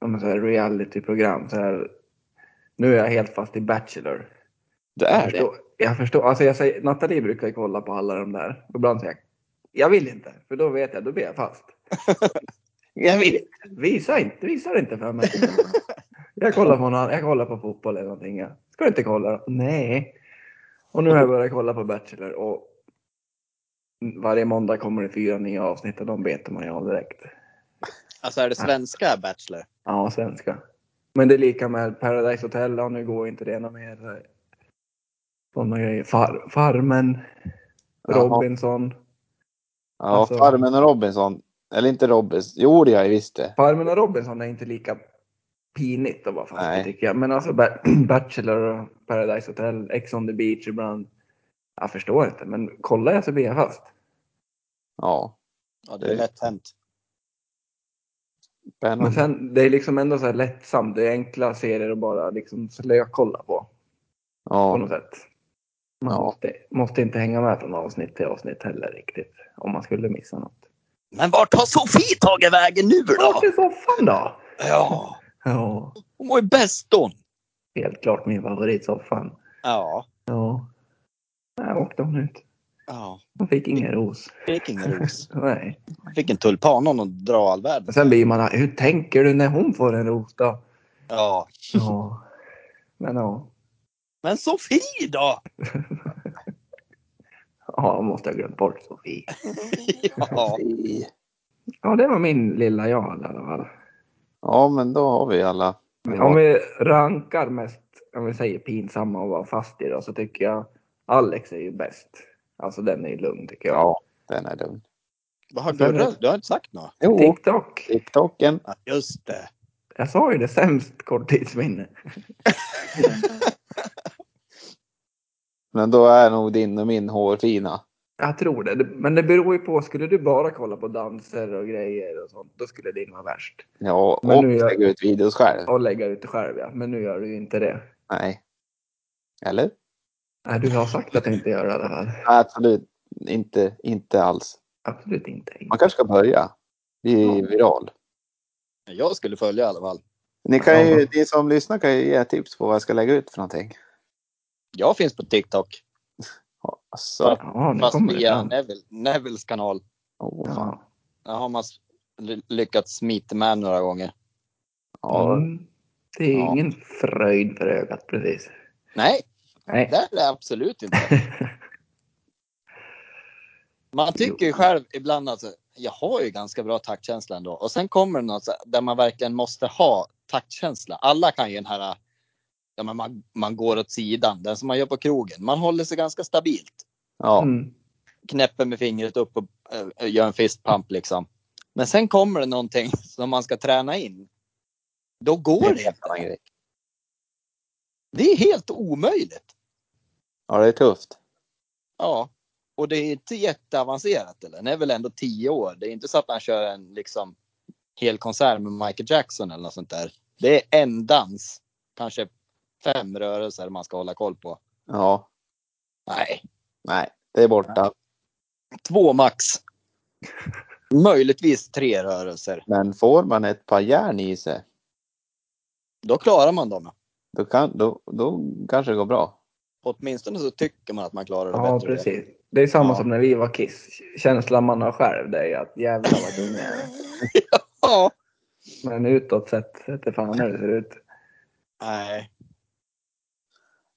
Speaker 3: om man säger realityprogram. Så här, nu är jag helt fast i Bachelor.
Speaker 2: Det
Speaker 3: Jag
Speaker 2: är det.
Speaker 3: förstår, jag förstår. Alltså jag säger, Nathalie brukar ju kolla på alla de där. Och ibland säger jag, jag vill inte. För då vet jag, då blir jag fast.
Speaker 2: Jag vill.
Speaker 3: Visa inte, visa det inte för mig. Jag kollar på, någon, jag kollar på fotboll eller någonting. ja. Ska du inte kolla då? Nej. Och nu har jag börjat kolla på Bachelor och varje måndag kommer det fyra nya avsnitt och de betar man ju av direkt.
Speaker 4: alltså är det svenska Bachelor?
Speaker 3: Ja, svenska. Men det är lika med Paradise Hotel och nu går inte det något mer. Sådana grejer. Far, farmen,
Speaker 2: Jaha.
Speaker 3: Robinson.
Speaker 2: Ja,
Speaker 3: Alltså-
Speaker 2: Farmen och Robinson. Eller inte Robinson. Jo, det gör jag visst det.
Speaker 3: Farmen och Robinson är inte lika pinigt att vara fast i
Speaker 2: Nej.
Speaker 3: tycker jag. Men alltså Ba- Bachelor och Paradise Hotel, Ex on the beach ibland. Jag förstår inte, men kollar jag så blir jag fast.
Speaker 2: Ja.
Speaker 4: Ja, det är lätt hänt.
Speaker 3: Men
Speaker 2: Spännande.
Speaker 3: sen, det är liksom ändå så här lättsamt. Det är enkla serier att bara liksom slökolla på. På
Speaker 2: Ja.
Speaker 3: något sätt. Man
Speaker 2: Ja.
Speaker 3: måste, måste inte hänga med från avsnitt till avsnitt heller riktigt. Om man skulle missa något.
Speaker 4: Men vart har Sofie tagit vägen nu då?
Speaker 3: Vart är soffan då?
Speaker 4: Ja,
Speaker 3: Ja,
Speaker 4: hon mår ju bäst då.
Speaker 3: helt klart min favoritsoffan.
Speaker 4: Ja,
Speaker 3: Ja. Där åkte hon ut.
Speaker 4: Ja,
Speaker 3: Man fick ingen ros.
Speaker 4: fick ingen ros.
Speaker 3: Nej.
Speaker 4: Fick en tulpan och någon dra all världen.
Speaker 3: Men sen blir man hur tänker du när hon får en ros då?
Speaker 4: Ja.
Speaker 3: Ja. Men ja.
Speaker 4: Men Sofie då?
Speaker 3: Ja, måste jag glömt bort Sofie.
Speaker 4: Ja.
Speaker 3: Ja, det var min lilla jag i alla fall.
Speaker 2: Ja, men då har vi alla.
Speaker 3: Om vi rankar mest, om vi säger pinsamma och vara fast i då, så tycker jag Alex är ju bäst. Alltså den är ju lugn tycker jag.
Speaker 2: Ja, den är lugn.
Speaker 4: Vad har du, du har inte sagt något?
Speaker 2: Jo,
Speaker 3: TikTok.
Speaker 2: TikToken.
Speaker 4: Ja, just det.
Speaker 3: Jag sa ju det sämst korttidsminne.
Speaker 2: Men då är nog din och min hårfina.
Speaker 3: Jag tror det. Men det beror ju på. Skulle du bara kolla på danser och grejer och sånt, då skulle din vara värst.
Speaker 2: Ja, och
Speaker 3: Men nu gör-
Speaker 2: lägga ut videos själv.
Speaker 3: Och lägga ut det själv ja. Men nu gör du ju inte det.
Speaker 2: Nej. Eller?
Speaker 3: Nej, du har sagt att du inte gör det i alla fall.
Speaker 2: Nej, absolut inte, inte alls.
Speaker 3: Absolut inte.
Speaker 2: Man kanske ska börja. Bli
Speaker 3: Ja.
Speaker 2: viral.
Speaker 4: Jag skulle följa i alla fall.
Speaker 2: Ni, kan ju,
Speaker 3: Ja.
Speaker 2: ni som lyssnar kan ju ge tips på vad jag ska lägga ut för någonting.
Speaker 4: Jag finns på TikTok.
Speaker 2: Alltså,
Speaker 3: Ja, nu
Speaker 4: Fast
Speaker 3: kommer det
Speaker 4: via
Speaker 3: fram.
Speaker 4: Neville, Nevilles kanal.
Speaker 2: oh, fan.
Speaker 3: Ja.
Speaker 4: Där har man s- ly- lyckats smita med några gånger.
Speaker 2: Ja,
Speaker 3: Mm. Det är
Speaker 2: Ja.
Speaker 3: ingen fröjd för ögat precis.
Speaker 4: Nej,
Speaker 3: Nej.
Speaker 4: det är det absolut inte. Man tycker ju själv ibland alltså, jag har ju ganska bra taktkänsla ändå. Och sen kommer det något så här där man verkligen måste ha taktkänsla. Alla kan ju den här, ja, men man, man går åt sidan, den som man gör på krogen. Man håller sig ganska stabilt.
Speaker 2: ja.
Speaker 3: Mm.
Speaker 4: knäpper med fingret upp och eh, gör en fistpump liksom. Men sen kommer det någonting som man ska träna in. Då går det inte. Det är helt omöjligt.
Speaker 2: ja, det är tufft.
Speaker 4: Ja, och det är inte jätteavancerat. Eller? Den är väl ändå tio år. Det är inte så att man kör en liksom, hel konsert med Michael Jackson eller något sånt där. Det är en dans, kanske fem rörelser man ska hålla koll på.
Speaker 2: Ja,
Speaker 4: Nej,
Speaker 2: nej, det är borta.
Speaker 4: två max. Möjligtvis tre rörelser.
Speaker 2: Men får man ett par järn i sig,
Speaker 4: Då klarar man dem.
Speaker 2: då, kan, då, då kanske det går bra.
Speaker 4: Åtminstone så tycker man att man klarar det
Speaker 3: Ja,
Speaker 4: bättre.
Speaker 3: precis. Det är samma
Speaker 2: Ja.
Speaker 3: som när vi var Kiss. Känslan man har själv det är att jävlar vad dum jag är.
Speaker 4: Ja.
Speaker 3: Men utåt sett vete fan hur det ser ut.
Speaker 4: Nej.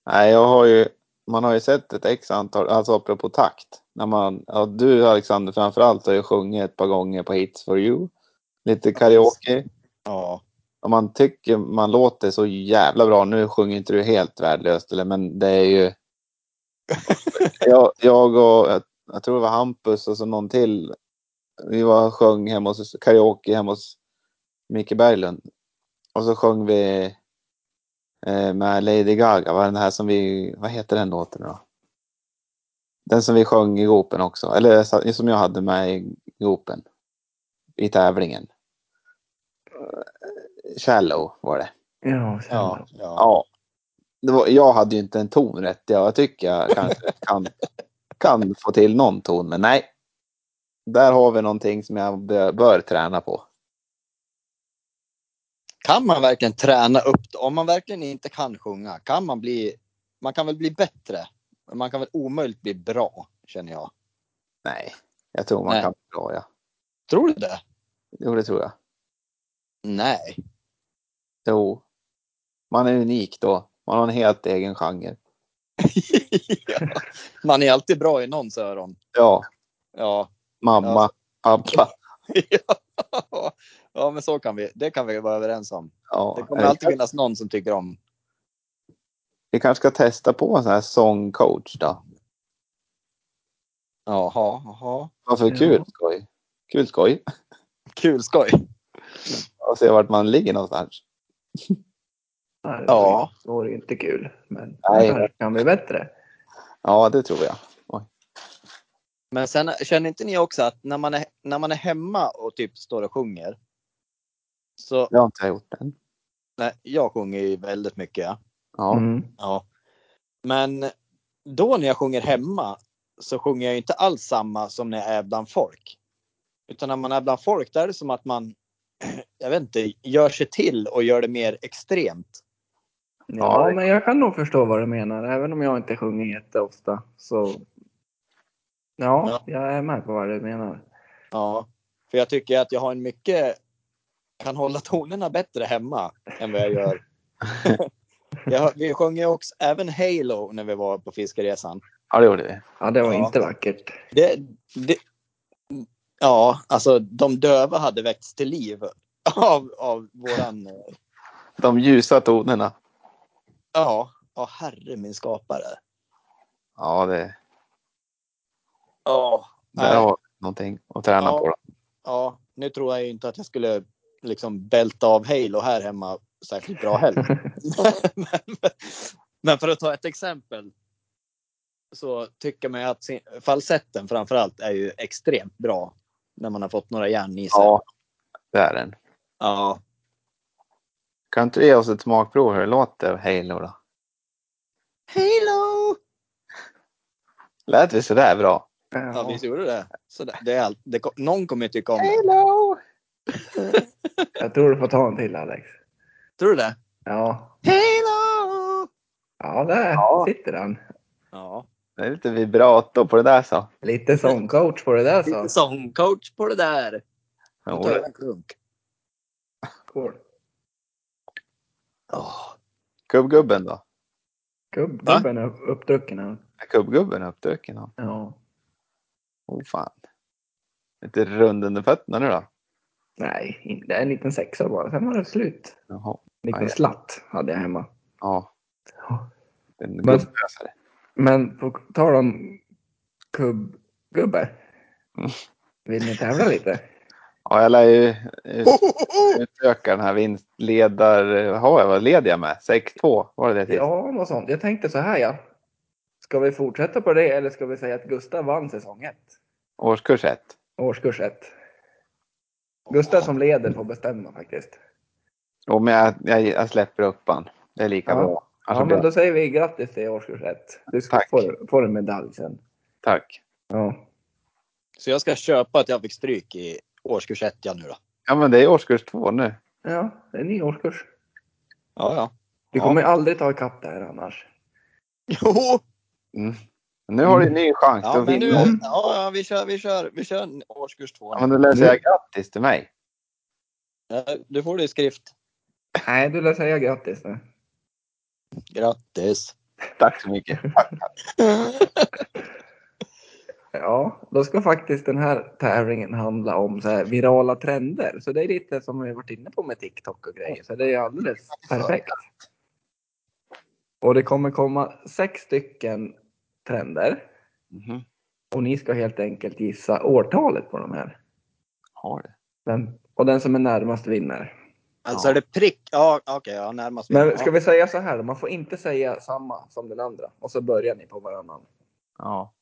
Speaker 2: Nej, jag har ju, man har ju sett ett x antal, alltså apropå takt. När man, ja, du Alexander framförallt har ju sjungit ett par gånger på Hits for you. Lite karaoke.
Speaker 4: Ja.
Speaker 2: Och man tycker man låter så jävla bra. Nu sjunger inte du helt värdelöst, eller, men det är ju... jag, jag och, jag, jag tror det var Hampus och så någon till. Vi var och sjöng hemma hos, karaoke hemma hos Micke Berglund. Och så sjöng vi eh, med Lady Gaga. Vad, är den här som vi, vad heter den låten då? Den som vi sjöng i gropen också. Eller sa- som jag hade med i gropen. I tävlingen. Eh, Shallow var det.
Speaker 3: Ja, sen
Speaker 4: Ja.
Speaker 3: ja.
Speaker 4: ja.
Speaker 2: Ja. Det var, jag hade ju inte en ton rätt. Jag tycker jag kanske kan, kan få till någon ton, men nej. Där har vi någonting som jag bör, bör träna på.
Speaker 4: Kan man verkligen träna upp det? Om man verkligen inte kan sjunga, kan man bli... Man kan väl bli bättre? Men man kan väl omöjligt bli bra, känner jag.
Speaker 2: Nej, jag tror man
Speaker 4: Nej.
Speaker 2: kan bra. Ja.
Speaker 4: Tror du det?
Speaker 2: Jo, det tror jag.
Speaker 4: Nej.
Speaker 2: Jo. Man är unik då. Man har en helt egen genre.
Speaker 4: Man är alltid bra i någons öron.
Speaker 2: Ja,
Speaker 4: Ja.
Speaker 2: mamma, pappa.
Speaker 4: ja, men så kan vi. Det kan vi vara överens om. Det
Speaker 2: Ja.
Speaker 4: kommer alltid finnas någon som tycker om.
Speaker 2: Vi kanske ska testa på en sån här sångcoach då.
Speaker 4: Jaha, jaha.
Speaker 2: Varför
Speaker 3: Ja.
Speaker 2: kul skoj? Kul skoj.
Speaker 4: Kul skoj.
Speaker 2: Och se vart man ligger någonstans.
Speaker 3: Nej,
Speaker 4: Ja.
Speaker 3: Det var ju inte kul. Men
Speaker 2: Nej.
Speaker 3: det här kan bli bättre.
Speaker 2: Ja, det tror jag.
Speaker 4: Men sen känner inte ni också att när man är, när man är hemma och typ står och sjunger. Så,
Speaker 2: Det har inte jag gjort än.
Speaker 4: nej, jag sjunger ju väldigt mycket. ja.
Speaker 2: Ja.
Speaker 3: Mm.
Speaker 4: Ja. Men då när jag sjunger hemma så sjunger jag ju inte alls samma som när jag är bland folk. Utan när man är bland folk där är det som att man, jag vet inte, gör sig till och gör det mer extremt.
Speaker 3: Ja,
Speaker 2: Ja.
Speaker 3: men jag kan nog förstå vad du menar. Även om jag inte sjunger jätteofta så Ja, jag är med på vad du menar.
Speaker 4: Ja, för jag tycker att jag har en mycket, kan hålla tonerna bättre hemma än vad jag gör. jag, vi sjöng ju också även Halo när vi var på fiskeresan.
Speaker 2: Ja, det gjorde vi.
Speaker 3: Ja, det var
Speaker 4: Ja.
Speaker 3: inte vackert.
Speaker 4: Det, det, ja, alltså de döva hade väckts till liv av, av våran, eh,
Speaker 2: De ljusa tonerna.
Speaker 4: ja, ja herre min skapare.
Speaker 2: Ja, det,
Speaker 4: Ja,
Speaker 2: där
Speaker 4: nej,
Speaker 2: har vi någonting att träna
Speaker 4: Ja.
Speaker 2: på. Då.
Speaker 4: ja, nu tror jag ju inte att jag skulle liksom bälta av Halo här hemma särskilt bra heller. men, men för att ta ett exempel. Så tycker man ju att sin- falsetten framför allt är ju extremt bra. När man har fått några järn i sig.
Speaker 2: Ja, det är den.
Speaker 4: ja.
Speaker 2: Kan inte du ge oss ett smakprov hur det låter Halo då?
Speaker 4: Halo!
Speaker 2: Lät vi sådär bra?
Speaker 4: Ja,
Speaker 3: Ja,
Speaker 4: visst gjorde det. Så det, det är allt. Det, kom- någon kommer ju tycka om det.
Speaker 1: Hello.
Speaker 3: jag tror du får ta en till Alex.
Speaker 4: Tror du det?
Speaker 3: Ja,
Speaker 4: Halo!
Speaker 3: ja där
Speaker 2: Ja.
Speaker 3: sitter han.
Speaker 4: Ja.
Speaker 2: Det är lite vibrato på det där så.
Speaker 3: Lite sångcoach på det där
Speaker 4: Lite
Speaker 3: så.
Speaker 4: sångcoach Alltså. på det där. Nu
Speaker 2: Jo,
Speaker 4: tar jag
Speaker 2: det-
Speaker 4: en klunk.
Speaker 3: Cool.
Speaker 4: Åh.
Speaker 2: Kubbgubben då?
Speaker 3: Gubb,
Speaker 4: Va?
Speaker 3: gubben är upp- uppdrucken han.
Speaker 2: Är kubbgubben uppduken? då?
Speaker 3: Ja.
Speaker 2: Oh fan. Lite rund under fötterna nu då?
Speaker 3: Nej, in- det är en liten sexa bara. Sen var det slut.
Speaker 2: Jaha.
Speaker 3: En liten
Speaker 2: Aj.
Speaker 3: slatt hade jag hemma.
Speaker 2: Ja. alltså. En
Speaker 3: Men-
Speaker 2: gubblösare.
Speaker 3: Men på tal om kubb, gubbe. Vill ni tävla lite?
Speaker 2: Ja, jag lär ju ut- utöka den här vinstledar... Har jag, vad led jag med? 6-2 var det det till?
Speaker 3: Ja, något sånt. Jag tänkte så här ja. Ska vi fortsätta på det eller ska vi säga att Gustav vann säsong 1?
Speaker 2: Årskurs 1.
Speaker 3: Årskurs 1. Gustav som leder får bestämma faktiskt.
Speaker 2: Och men jag, jag, jag släpper upp han. Det är lika
Speaker 3: Ja.
Speaker 2: bra. Alltså,
Speaker 3: Ja, men då säger vi grattis till årskurs 1. Du ska
Speaker 2: Tack.
Speaker 3: få, får en medalj sen.
Speaker 2: Tack.
Speaker 3: Ja.
Speaker 4: Så jag ska köpa att jag fick stryk i årskurs ett ja, nu då.
Speaker 2: Ja, men det är årskurs 2 nu.
Speaker 3: ja, det är en ny årskurs.
Speaker 4: Ja, ja.
Speaker 3: Du
Speaker 2: Ja.
Speaker 3: kommer aldrig ta ikapp det här annars.
Speaker 4: Jo!
Speaker 2: Mm. Nu har du en ny chans
Speaker 4: Ja,
Speaker 2: att
Speaker 4: men nu,
Speaker 2: vinna.
Speaker 4: ja, ja, vi kör, vi kör, vi kör en årskurs två.
Speaker 2: Ja,
Speaker 4: nu.
Speaker 2: men då läser jag grattis till mig.
Speaker 4: Ja, Du får det i skrift.
Speaker 3: Nej, du lär säga grattis nu.
Speaker 4: Grattis!
Speaker 2: Tack så mycket.
Speaker 3: Ja, då ska faktiskt den här tävlingen handla om så här virala trender. Så det är lite som vi varit inne på med TikTok och grejer. Så det är alldeles perfekt. Och det kommer komma sex stycken trender.
Speaker 2: Mhm.
Speaker 3: Och ni ska helt enkelt gissa årtalet på de här.
Speaker 2: Har det.
Speaker 3: Den, och den som är närmast vinner.
Speaker 4: Alltså
Speaker 2: Ja.
Speaker 4: är det prick? Ja, okej, ja, närmast.
Speaker 3: Men ska
Speaker 4: ja.
Speaker 3: vi säga så här då? Man får inte säga samma som den andra. Och så börjar ni på varannan.
Speaker 2: Ja,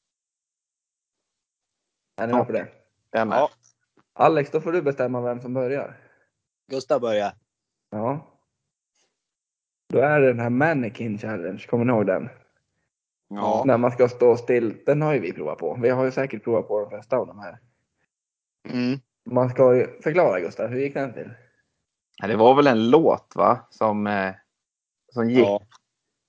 Speaker 3: Är ni med på det?
Speaker 2: jag är med.
Speaker 4: Ja.
Speaker 3: Alex, då får du bestämma vem som börjar.
Speaker 4: Gustav börjar.
Speaker 3: Ja. Då är det den här Mannequin Challenge, kommer ni ihåg den?
Speaker 4: Ja.
Speaker 3: När man ska stå still. Den har ju vi provat på. Vi har ju säkert provat på de flesta av de här.
Speaker 4: Mm.
Speaker 3: Man ska ju förklara Gustav, hur gick den till?
Speaker 2: Ja, Det var väl en låt va? Som, eh, som gick.
Speaker 4: Ja.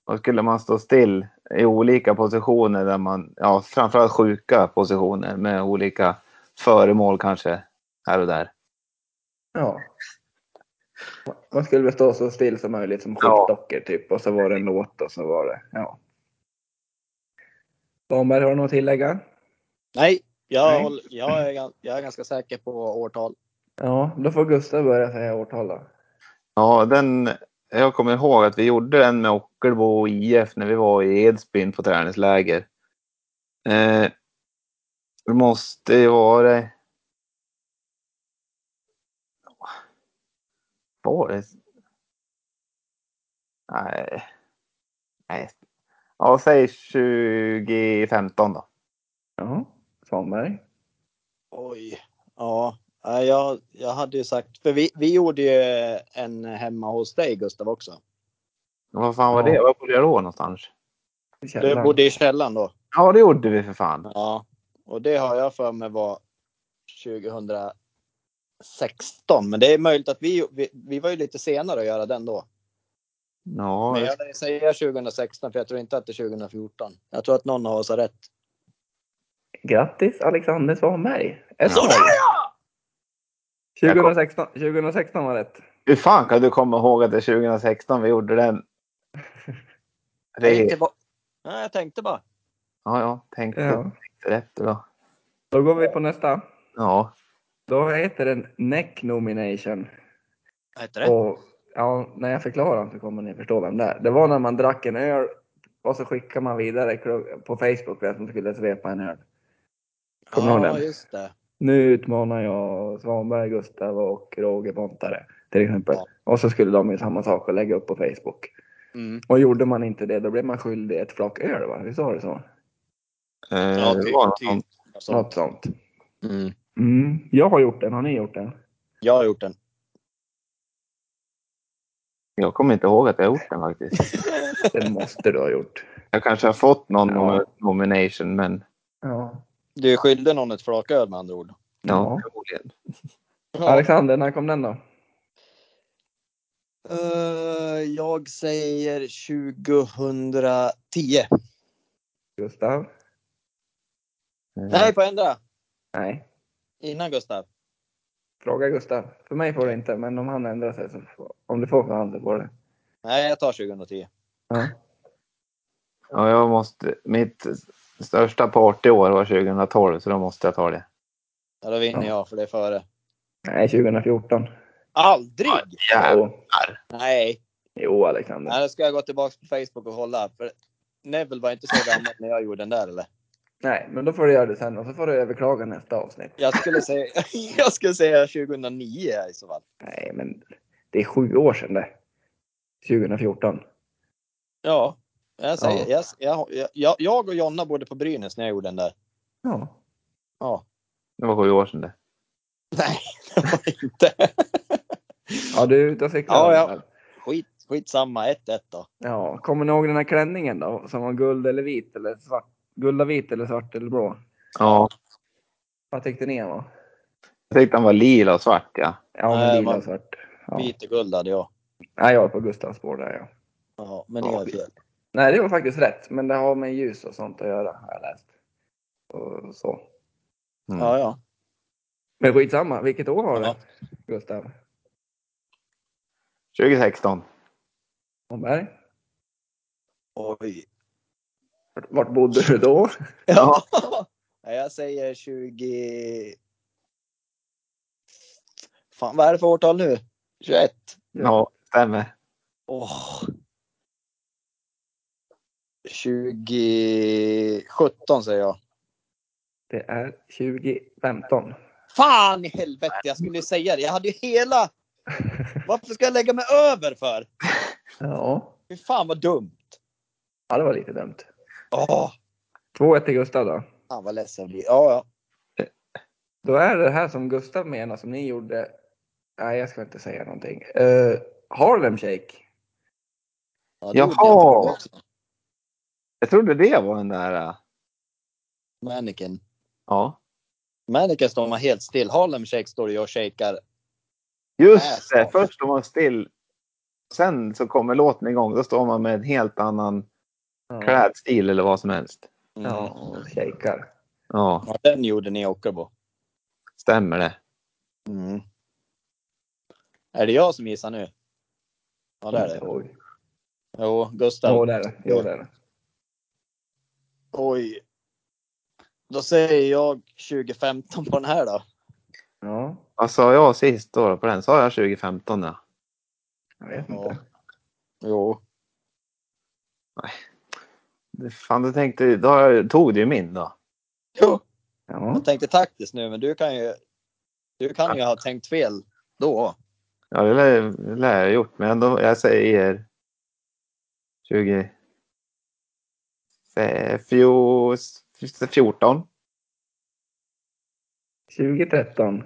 Speaker 2: Och skulle man stå still i olika positioner där man, ja framförallt sjuka positioner med olika föremål kanske här och där.
Speaker 3: Ja. Man skulle väl stå så still som möjligt som
Speaker 2: Ja.
Speaker 3: skyltdockor typ. Och så var det en låt och så var det, ja. Damberg, har du något att tillägga?
Speaker 4: Nej, jag,
Speaker 3: Nej.
Speaker 4: håller- jag, är, gan- jag är ganska säker på årtal.
Speaker 3: Ja, då får Gustav börja säga årtal då.
Speaker 2: Ja, den, jag kommer ihåg att vi gjorde den med Ockelbo och IF när vi var i Edsbyn på träningsläger. Eh, det måste ju vara... Var det? Nej. Nej. Ja, säg 2015 då.
Speaker 3: Ja, Svanberg.
Speaker 4: Oj. Ja, Nej, jag, jag hade ju sagt, för vi, vi gjorde ju en hemma hos dig Gustav också.
Speaker 2: Vad fan var det?
Speaker 3: Ja.
Speaker 2: Var bodde jag då någonstans?
Speaker 4: Du
Speaker 3: Källaren.
Speaker 4: bodde i källaren då.
Speaker 2: Ja, det gjorde vi för fan.
Speaker 4: Ja, och det har jag för mig var 2016. Men det är möjligt att vi, vi, vi var ju lite senare att göra den då.
Speaker 2: Ja,
Speaker 4: Men jag vill säga 2016 för jag tror inte att det är 2014. Jag tror att någon av oss har rätt.
Speaker 3: Grattis Alexander Svanberg! Ett
Speaker 2: Ja.
Speaker 3: mål! 2016, 2016 var rätt.
Speaker 2: Hur fan kan du komma ihåg att det är 2016 vi gjorde den?
Speaker 4: Jag
Speaker 2: Det
Speaker 4: tänkte
Speaker 2: är,
Speaker 4: bara... Nej, jag tänkte bara.
Speaker 2: ja, ja, tänkte
Speaker 3: Ja.
Speaker 2: rätt då.
Speaker 3: Då går vi på nästa.
Speaker 2: Ja,
Speaker 3: Då heter den Neck Nomination.
Speaker 4: Vad heter det?
Speaker 3: Och, ja, när jag förklarar så kommer ni förstå vem det är. Det var när man drack en öl och så skickade man vidare kru- på Facebook vem som skulle svepa en öl. Kommer du ihåg
Speaker 4: ja,
Speaker 3: den?
Speaker 4: just det.
Speaker 3: Nu utmanar jag Svanberg, Gustav och Roger Pontare till exempel.
Speaker 4: Ja.
Speaker 3: Och så skulle de ju samma sak och lägga upp på Facebook.
Speaker 4: Mm.
Speaker 3: Och gjorde man inte det då blev man skyldig ett flak öl va? Hur sa du så?
Speaker 2: eh,
Speaker 4: Ja,
Speaker 2: det
Speaker 4: typ,
Speaker 2: var något
Speaker 4: typ.
Speaker 2: sånt.
Speaker 4: Alltså,
Speaker 3: Något sånt.
Speaker 4: mm.
Speaker 3: Mm. Jag har gjort den, har ni gjort den?
Speaker 4: Jag har gjort den.
Speaker 2: Jag kommer inte ihåg att jag gjort den faktiskt.
Speaker 3: Den måste du ha gjort.
Speaker 2: Jag kanske har fått någon
Speaker 3: Ja.
Speaker 2: nom- nomination, men
Speaker 3: Ja.
Speaker 4: Du skyllde någon ett flaköl med andra ord.
Speaker 2: ja,
Speaker 3: Ja.
Speaker 2: förmodligen.
Speaker 3: Alexander, när kom den då?
Speaker 4: Eh, jag säger
Speaker 3: Mm.
Speaker 4: 2010.
Speaker 3: Gustav?
Speaker 2: Eh,
Speaker 4: Nej, på ändra.
Speaker 3: Nej.
Speaker 4: Innan Gustav.
Speaker 3: Fråga Gustav. För mig får du inte, men om han ändrar sig så får, om du får för han så får du.
Speaker 4: Nej, jag tar 2010.
Speaker 3: Ja.
Speaker 2: Ja, jag måste, mitt största partyår var 2012, så då måste jag ta det.
Speaker 4: Ja, då vinner
Speaker 3: Ja.
Speaker 4: jag för det är före.
Speaker 3: Nej, 2014.
Speaker 4: Aldrig!
Speaker 2: Jävlar.
Speaker 3: Jo.
Speaker 4: Nej.
Speaker 3: Jo, Alexander.
Speaker 4: Nej, då ska jag gå tillbaka på Facebook och hålla. För Neville var inte så gammal när jag gjorde den där eller?
Speaker 3: Nej, men då får du göra det sen och så får du överklaga nästa avsnitt.
Speaker 4: Jag skulle säga, jag skulle säga 2009 i så fall.
Speaker 3: Nej, men det är sju år sedan det. 2014.
Speaker 4: Ja, jag säger,
Speaker 3: Ja.
Speaker 4: Jag, jag, jag, jag och Jonna bodde på Brynäs när jag gjorde den där.
Speaker 3: Ja.
Speaker 4: Ja.
Speaker 2: Det var sju år sedan det.
Speaker 4: Nej, det var inte.
Speaker 3: Ja, du är ute och cyklar.
Speaker 4: Ja, ja.
Speaker 3: Alexander.
Speaker 4: Skit, skitsamma, 1-1 då.
Speaker 3: ja. Kommer ni ihåg den här klänningen då? Som var guld eller vit eller svart? Guld och vit eller svart eller blå?
Speaker 2: Ja,
Speaker 3: Vad tyckte ni den var?
Speaker 2: jag tyckte han var lila och svart, ja.
Speaker 3: Ja, men
Speaker 4: Nej,
Speaker 3: lila
Speaker 4: man-
Speaker 3: och svart. Ja.
Speaker 4: Vit och guld hade jag.
Speaker 3: Nej, jag är på Gustavs spår där ja.
Speaker 4: Ja, men det
Speaker 2: Ja,
Speaker 4: var fel.
Speaker 3: Nej, det var faktiskt rätt. Men det har med ljus och sånt att göra har jag läst. Och så.
Speaker 2: Mm.
Speaker 4: Ja, ja.
Speaker 3: Men skitsamma, vilket år var
Speaker 4: Ja.
Speaker 3: det? Gustav
Speaker 2: 2016.
Speaker 3: Holmberg?
Speaker 4: Oj.
Speaker 3: Vart bodde du då?
Speaker 4: Ja. Nej, Jag säger 20... Fan, vad är det för årtal nu? 21?
Speaker 2: Ja, stämmer.
Speaker 4: Åh. 2017 säger jag.
Speaker 3: Det är 2015.
Speaker 4: Fan i helvete, jag skulle ju säga det. Jag hade ju hela... Varför ska jag lägga mig över för?
Speaker 3: Ja.
Speaker 4: Fy fan vad dumt.
Speaker 3: ja, det var lite dumt.
Speaker 4: Åh,
Speaker 3: 2-1 till Gustav då.
Speaker 4: fan vad ledsen jag blir. Ja, ja.
Speaker 3: Då är det här som Gustav menar som ni gjorde. Nej, jag ska inte säga någonting. Eh, Harlem Shake.
Speaker 4: ja det gjorde jag
Speaker 2: Jaha.
Speaker 4: också.
Speaker 2: Jag trodde det var den där... äh,
Speaker 4: Mannequin.
Speaker 2: Ja.
Speaker 4: Mannequin står man helt still. Harlem Shake står ju och shakar.
Speaker 2: Just det,
Speaker 4: Nästan.
Speaker 2: först står man still. Sen så kommer låten igång. Då står man med en helt annan
Speaker 3: Ja,
Speaker 2: klädstil eller vad som helst.
Speaker 4: Mm.
Speaker 3: ja och shakar.
Speaker 2: Ja,
Speaker 4: Ja, den gjorde ni i Ockelbo.
Speaker 2: stämmer det.
Speaker 4: Mm. Är det jag som gissar nu? Ja, det är det.
Speaker 3: Oj.
Speaker 4: Jo, Gustav.
Speaker 3: Jo, det är det. Jo, det är det.
Speaker 4: Oj. Då säger jag 2015 på den här då.
Speaker 3: Ja,
Speaker 2: Vad sa jag sist då på den? Sa jag 2015? Ja.
Speaker 3: jag vet
Speaker 4: Ja.
Speaker 3: inte.
Speaker 4: Jo.
Speaker 2: Det- Fan, då tänkte då har jag- tog du ju min då.
Speaker 4: jo.
Speaker 3: Ja.
Speaker 4: Jag tänkte taktiskt nu, men du kan ju. Du kan ju ha tänkt fel då.
Speaker 2: Ja, det lär, det lär jag ha gjort. Men ändå, jag säger 20... fe- fjol- 14.
Speaker 3: 2013.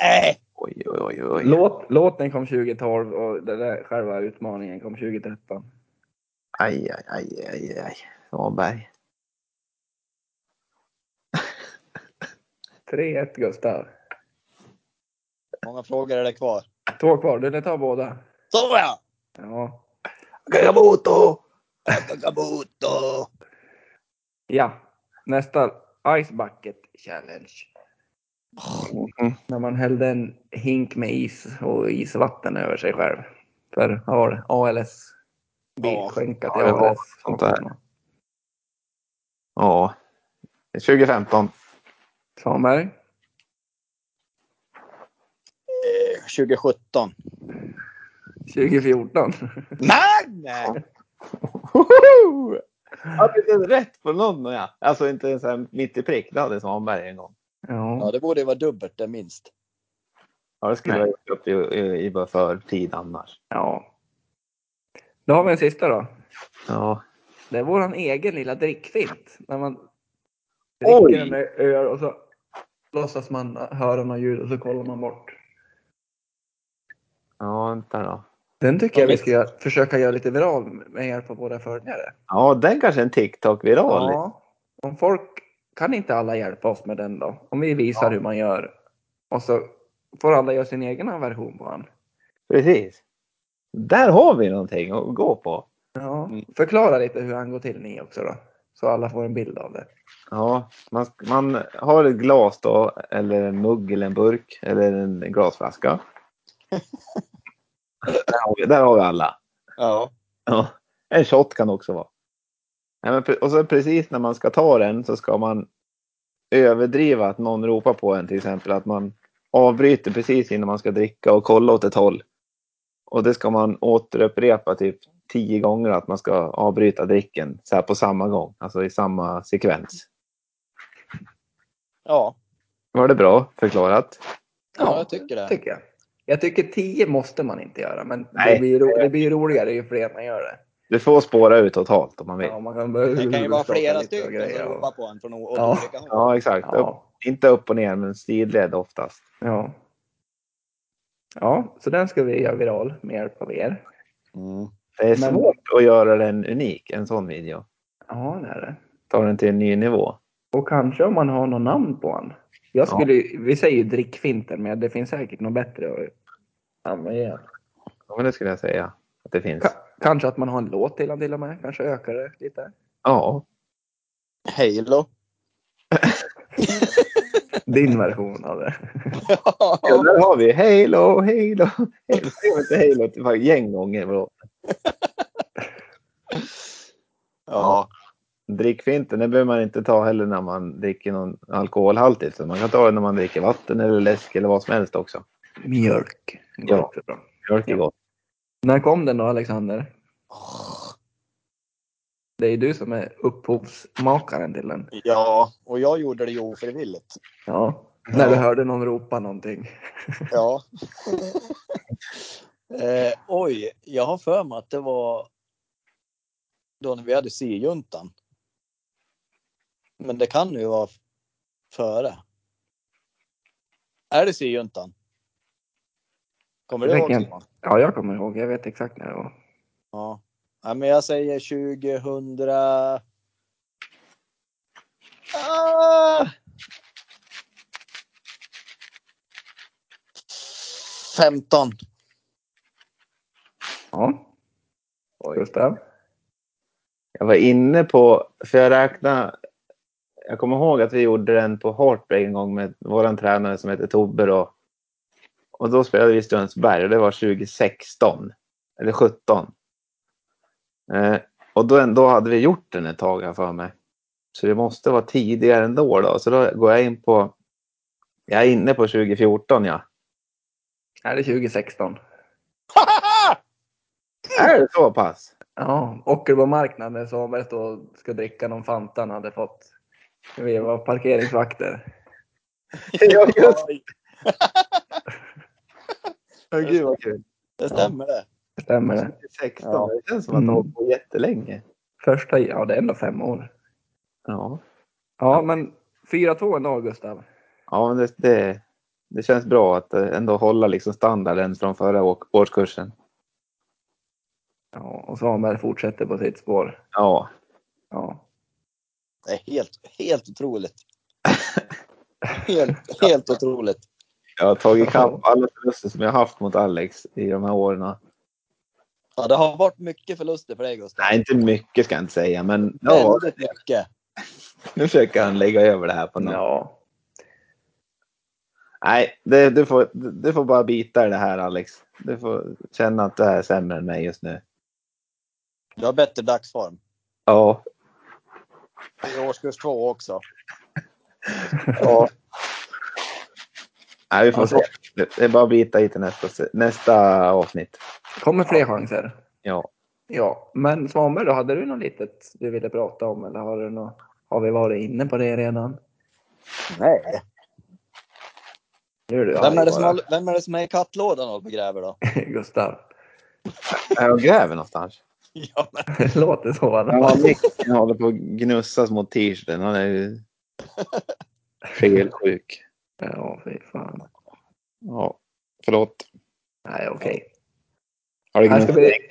Speaker 4: Nej,
Speaker 2: Oj, oj, oj. oj.
Speaker 3: Låt, låten kom 2012 och den där själva utmaningen kom 2013.
Speaker 2: Aj, aj, aj, aj, aj. Svanberg.
Speaker 3: 3-1 Gustav.
Speaker 4: många frågor är det kvar.
Speaker 3: Två kvar, du ni tar båda.
Speaker 4: Så ja!
Speaker 3: Ja.
Speaker 2: Gagaboto!
Speaker 4: Kakaboto.
Speaker 3: ja, nästa Ice Bucket Challenge.
Speaker 2: Mm.
Speaker 3: När man hällde en hink med is och isvatten över sig själv. För vad var det? ALS.
Speaker 4: Ja,
Speaker 3: Skänkat
Speaker 2: ja, det var
Speaker 3: ALS.
Speaker 2: sånt där. Ja. 2015.
Speaker 3: Svanberg.
Speaker 4: eh, 2017.
Speaker 3: 2014.
Speaker 4: Nej! nej.
Speaker 2: Woho! Hade du rätt på någon? Ja. Alltså inte ens här mitt i prick. Det hade Svanberg en gång.
Speaker 4: Ja,
Speaker 3: Ja.
Speaker 4: det borde ju vara dubbelt det minst.
Speaker 2: Ja, det skulle jag ha gjort upp i, i, i bara för tid annars.
Speaker 3: ja. Då har vi en sista då.
Speaker 2: Ja.
Speaker 3: Det är våran egen lilla drickfint. När man
Speaker 2: Oj!
Speaker 3: dricker en öl och så låtsas man höra något ljud och så kollar man bort.
Speaker 2: Ja, vänta då.
Speaker 3: Den tycker
Speaker 4: Ja,
Speaker 3: jag vi
Speaker 4: visst.
Speaker 3: ska göra- försöka göra lite viral med hjälp av våra följare.
Speaker 2: Ja, den kanske är en TikTok-viral.
Speaker 3: Ja. Om folk, kan inte alla hjälpa oss med den då? Om vi visar hur man gör och så får alla göra sin egen version på den.
Speaker 2: Precis. Där har vi någonting att gå på.
Speaker 3: Ja.
Speaker 2: Mm.
Speaker 3: Förklara lite hur han går till ni också då. Så alla får en bild av det.
Speaker 2: Ja, man, man har ett glas då, eller en mugg eller en burk eller en glasflaska. där, har vi, där har vi alla.
Speaker 4: Ja.
Speaker 2: Ja, en shot kan det också vara. Nej, men, pre- och så precis när man ska ta den så ska man överdriva att någon ropar på en till exempel. Att man avbryter precis innan man ska dricka och kolla åt ett håll. Och det ska man återupprepa typ tio gånger att man ska avbryta dricken så här på samma gång, alltså i samma sekvens.
Speaker 4: Ja.
Speaker 2: Var det bra förklarat?
Speaker 4: ja, jag tycker det.
Speaker 3: tycker jag. Jag tycker 10 måste man inte göra, men
Speaker 2: Nej.
Speaker 3: det blir, ju ro, det blir ju roligare ju fler man gör det.
Speaker 2: Du får spåra ut totalt om man vill.
Speaker 3: Ja, man kan börja
Speaker 4: Det kan ju vara
Speaker 3: huvudskaka
Speaker 4: flera
Speaker 3: lite och
Speaker 4: stycken
Speaker 3: grejer
Speaker 4: som
Speaker 3: och-
Speaker 4: ropar på en från o-
Speaker 3: Ja.
Speaker 4: olika håll.
Speaker 2: Ja, exakt. Upp,
Speaker 3: Ja,
Speaker 2: inte upp och ner, men sidled oftast.
Speaker 3: ja. Ja, så den ska vi göra viral med hjälp av er.
Speaker 4: Mm.
Speaker 2: Det är
Speaker 3: Men-
Speaker 2: svårt att göra den unik, en sån video.
Speaker 3: Ja, det är det.
Speaker 2: Ta den till en ny nivå.
Speaker 3: Och kanske om man har något namn på den. Jag skulle, Vi säger ju drickfinten, men det finns säkert något bättre att använda.
Speaker 2: Ja, men det skulle jag säga att det finns.
Speaker 3: Ka- kanske att man har en låt till den till och med. Kanske ökar det lite.
Speaker 2: Ja,
Speaker 4: Halo.
Speaker 3: Din version av det.
Speaker 2: ja där har vi Halo, Halo, Halo. Skrev inte Halo typ ett gäng gånger? Vadå?
Speaker 4: ja.
Speaker 2: Drickfinten, det behöver man inte ta heller när man dricker någon alkoholhaltigt. Så man kan ta det när man dricker vatten eller läsk eller vad som helst också.
Speaker 3: Mjölk.
Speaker 2: Ja.
Speaker 3: Också bra.
Speaker 2: Mjölk är
Speaker 3: Ja.
Speaker 2: gott.
Speaker 3: När kom den då Alexander? Det är du som är upphovsmakaren till den.
Speaker 4: Ja, och jag gjorde det ju ofrivilligt.
Speaker 3: Ja. När du
Speaker 4: Ja.
Speaker 3: hörde någon ropa någonting.
Speaker 4: Ja. eh, oj, jag har för mig att det var då när vi hade syjuntan. Men det kan ju vara före. Är det syjuntan? Kommer du ihåg
Speaker 3: Vilken?
Speaker 4: Simon?
Speaker 3: Ja, jag kommer ihåg. Jag vet exakt när det var.
Speaker 4: Ja. ja, men jag säger 2000. Ah! 15.
Speaker 3: Ja. Gustav?
Speaker 2: Jag var inne på, för jag räknade, jag kommer ihåg att vi gjorde den på Heartbreak en gång med våran tränare som heter Tobbe då. Och då spelade vi i Strömsberg och det var 2016. Eller 17. Eh, och då, då hade vi gjort den ett tag här för mig. Så det måste vara tidigare ändå då. Så då går jag in på, jag är inne på 2014 ja.
Speaker 3: Är det 2016?
Speaker 2: Är det så pass?
Speaker 3: Ja, åker på marknaden så var det och ska dricka någon Fanta han hade fått. Vi var parkeringsvakter.
Speaker 2: Ja, just det. Gud vad kul.
Speaker 4: Det stämmer det.
Speaker 3: Stämmer det?
Speaker 2: 16,
Speaker 4: Ja.
Speaker 2: det känns som att det har
Speaker 3: Mm.
Speaker 2: hållit på jättelänge.
Speaker 3: Första, ja det är ändå fem år.
Speaker 2: Ja,
Speaker 3: Ja, men 4-2 ändå Gustav.
Speaker 2: ja men det, det, det känns bra att eh, ändå hålla liksom standarden från förra å- årskursen.
Speaker 3: Ja, och Svanberg fortsätter på sitt spår.
Speaker 2: Ja,
Speaker 3: Ja.
Speaker 4: Det är helt, helt otroligt. Helt, helt otroligt.
Speaker 2: jag har tagit ikapp alla förluster som jag haft mot Alex i de här åren.
Speaker 4: Ja, det har varit mycket förluster för dig Gustav.
Speaker 2: Nej, inte mycket ska jag inte säga, men ja,
Speaker 4: Väldigt mycket.
Speaker 2: Nu försöker han lägga över det här på någon.
Speaker 3: Ja.
Speaker 2: Nej, det, du, får, du får bara bita i det här Alex. Du får känna att det här är sämre än mig just nu.
Speaker 4: Du har bättre dagsform.
Speaker 2: Ja.
Speaker 4: I årskurs två också.
Speaker 2: ja. Nej, vi får se. Det är bara att bita i till nästa, se- nästa avsnitt.
Speaker 3: Kommer fler chanser.
Speaker 2: Ja.
Speaker 3: Ja, men Svanberg då, hade du något litet du ville prata om eller har, du något, har vi varit inne på det redan?
Speaker 4: Nej.
Speaker 3: Nu är du
Speaker 4: Vem
Speaker 3: arg
Speaker 4: är, det som
Speaker 3: bara.
Speaker 4: har, vem är det som är i kattlådan och begräver då?
Speaker 3: Gustav.
Speaker 2: Är jag gräver någonstans?
Speaker 4: Ja, men
Speaker 3: Det låter så. va?
Speaker 2: Ja, Nick håller på att gnussas mot t-shirten. Han är ju felsjuk.
Speaker 3: Ja, fy fan.
Speaker 2: Ja. Förlåt.
Speaker 3: Nej, okej.
Speaker 2: Har det
Speaker 3: Här ska
Speaker 2: gnussat?
Speaker 3: vi-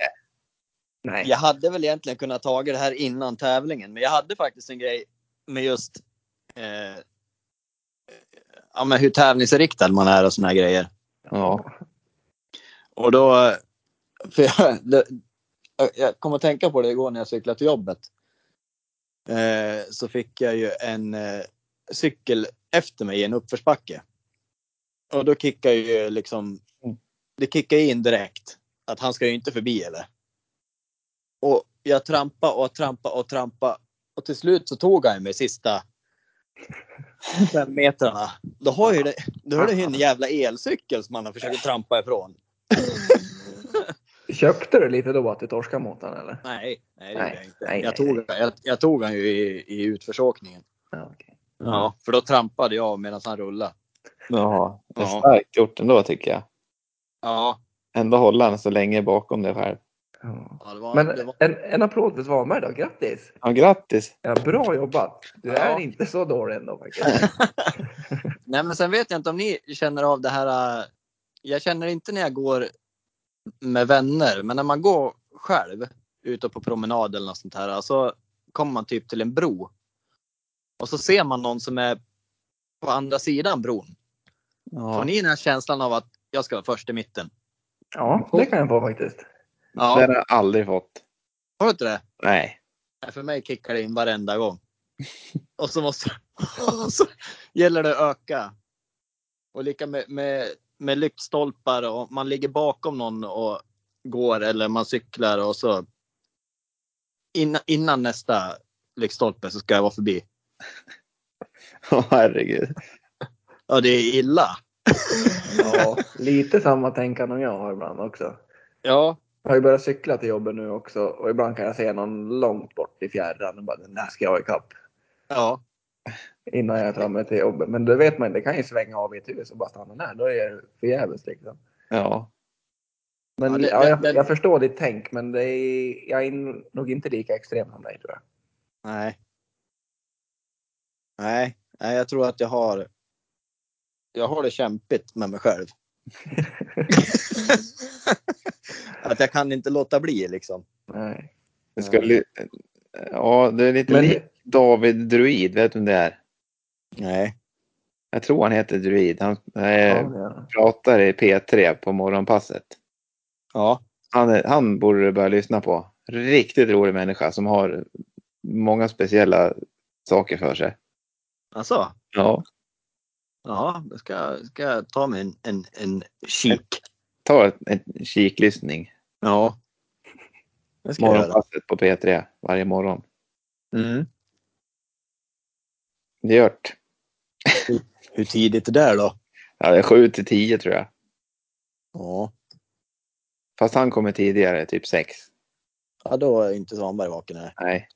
Speaker 3: Nej.
Speaker 4: jag hade väl egentligen kunnat ta det här innan tävlingen, men jag hade faktiskt en grej med just eh, ja, men hur tävlingsriktad man är och såna här grejer.
Speaker 2: Ja.
Speaker 4: Och då... För jag, det, jag kom att tänka på det igår när jag cyklade till jobbet. Eh, så fick jag ju en eh, cykel efter mig i en uppförsbacke. Och då kickar ju liksom... Det kickar in direkt att han ska ju inte förbi eller. Och jag trampa och trampa och trampa och till slut så tog han ju mig sista fem metrarna. Då har ju det, då är det ju en jävla elcykel som han har försökt trampa ifrån.
Speaker 3: Köpte du lite då att du torskade mot den eller?
Speaker 4: Nej, nej det
Speaker 3: Nej,
Speaker 4: gjorde jag inte.
Speaker 3: nej,
Speaker 4: jag,
Speaker 3: nej,
Speaker 4: tog, jag, jag tog han ju i, i utförsåkningen.
Speaker 3: Ja, okej.
Speaker 4: Ja. För då trampade jag medan han rullade.
Speaker 2: Jaha. Det är
Speaker 4: Ja.
Speaker 2: starkt gjort ändå tycker jag.
Speaker 4: Ja,
Speaker 2: Ändå håller han så länge bakom dig själv.
Speaker 3: ja.
Speaker 4: ja det var,
Speaker 3: Men
Speaker 4: det var,
Speaker 3: en, en applåd för Svanberg då, grattis!
Speaker 2: Ja, grattis!
Speaker 3: Ja, bra jobbat! Du är
Speaker 4: Ja.
Speaker 3: inte så dålig ändå faktiskt.
Speaker 4: nej men sen vet jag inte om ni känner av det här. äh, Jag känner inte när jag går med vänner, men när man går själv ute på promenad eller något sånt här så kommer man typ till en bro. Och så ser man någon som är på andra sidan bron. Får
Speaker 2: Ja.
Speaker 4: ni den här känslan av att jag ska vara först i mitten?
Speaker 3: Ja, det kan jag få faktiskt.
Speaker 4: Ja,
Speaker 2: Det har jag aldrig fått.
Speaker 4: har du inte det?
Speaker 2: Nej.
Speaker 4: Nej, för mig kickar det in varenda gång. Och så måste och så gäller det att öka. Och lika med, med, med lyktstolpar och man ligger bakom någon och går eller man cyklar och så. Innan, innan nästa lyktstolpe så ska jag vara förbi.
Speaker 2: Åh herregud.
Speaker 4: Ja, det är illa.
Speaker 3: Ja, lite samma tänkande som jag har ibland också.
Speaker 4: Ja,
Speaker 3: Jag har ju börjat cykla till jobbet nu också och ibland kan jag se någon långt bort i fjärran och bara den där ska jag ikapp
Speaker 4: ja,
Speaker 3: innan jag tar mig till jobbet. Men det vet man det kan ju svänga av i ett hus och bara stanna där. Då är det förgäves liksom.
Speaker 2: Ja.
Speaker 3: Men
Speaker 4: Ja,
Speaker 3: ja,
Speaker 4: det-
Speaker 3: jag,
Speaker 4: det-
Speaker 3: jag förstår ditt tänk men det är, jag är nog inte lika extrem som dig tror jag.
Speaker 4: nej. Nej, nej, jag tror att jag har. Jag har det kämpigt med mig själv. att jag kan inte låta bli liksom.
Speaker 3: Nej.
Speaker 2: Det ska li- ja, det är lite
Speaker 3: Men-
Speaker 2: lik David Druid. Vet du vem det är?
Speaker 4: Nej.
Speaker 2: Jag tror han heter Druid. Han eh,
Speaker 3: Ja, det gör jag.
Speaker 2: pratar i P3 på morgonpasset.
Speaker 4: Ja.
Speaker 2: Han, är, han borde du börja lyssna på. Riktigt rolig människa som har många speciella saker för sig.
Speaker 4: Alltså.
Speaker 2: Ja.
Speaker 4: Ja, då ska, jag- ska jag ta mig en, en, en kik.
Speaker 2: Ta ett- en kiklyssning.
Speaker 4: Ja. Det ska jag göra.
Speaker 2: Morgonpasset på P3 varje morgon.
Speaker 4: Mm.
Speaker 2: Det är gjort.
Speaker 4: Hur tidigt är det där då?
Speaker 2: Ja, det är 7 till 10 tror jag.
Speaker 4: Ja.
Speaker 2: Fast han kommer tidigare, typ 6.
Speaker 4: ja, då är inte Svanberg vaken. här.
Speaker 2: Nej.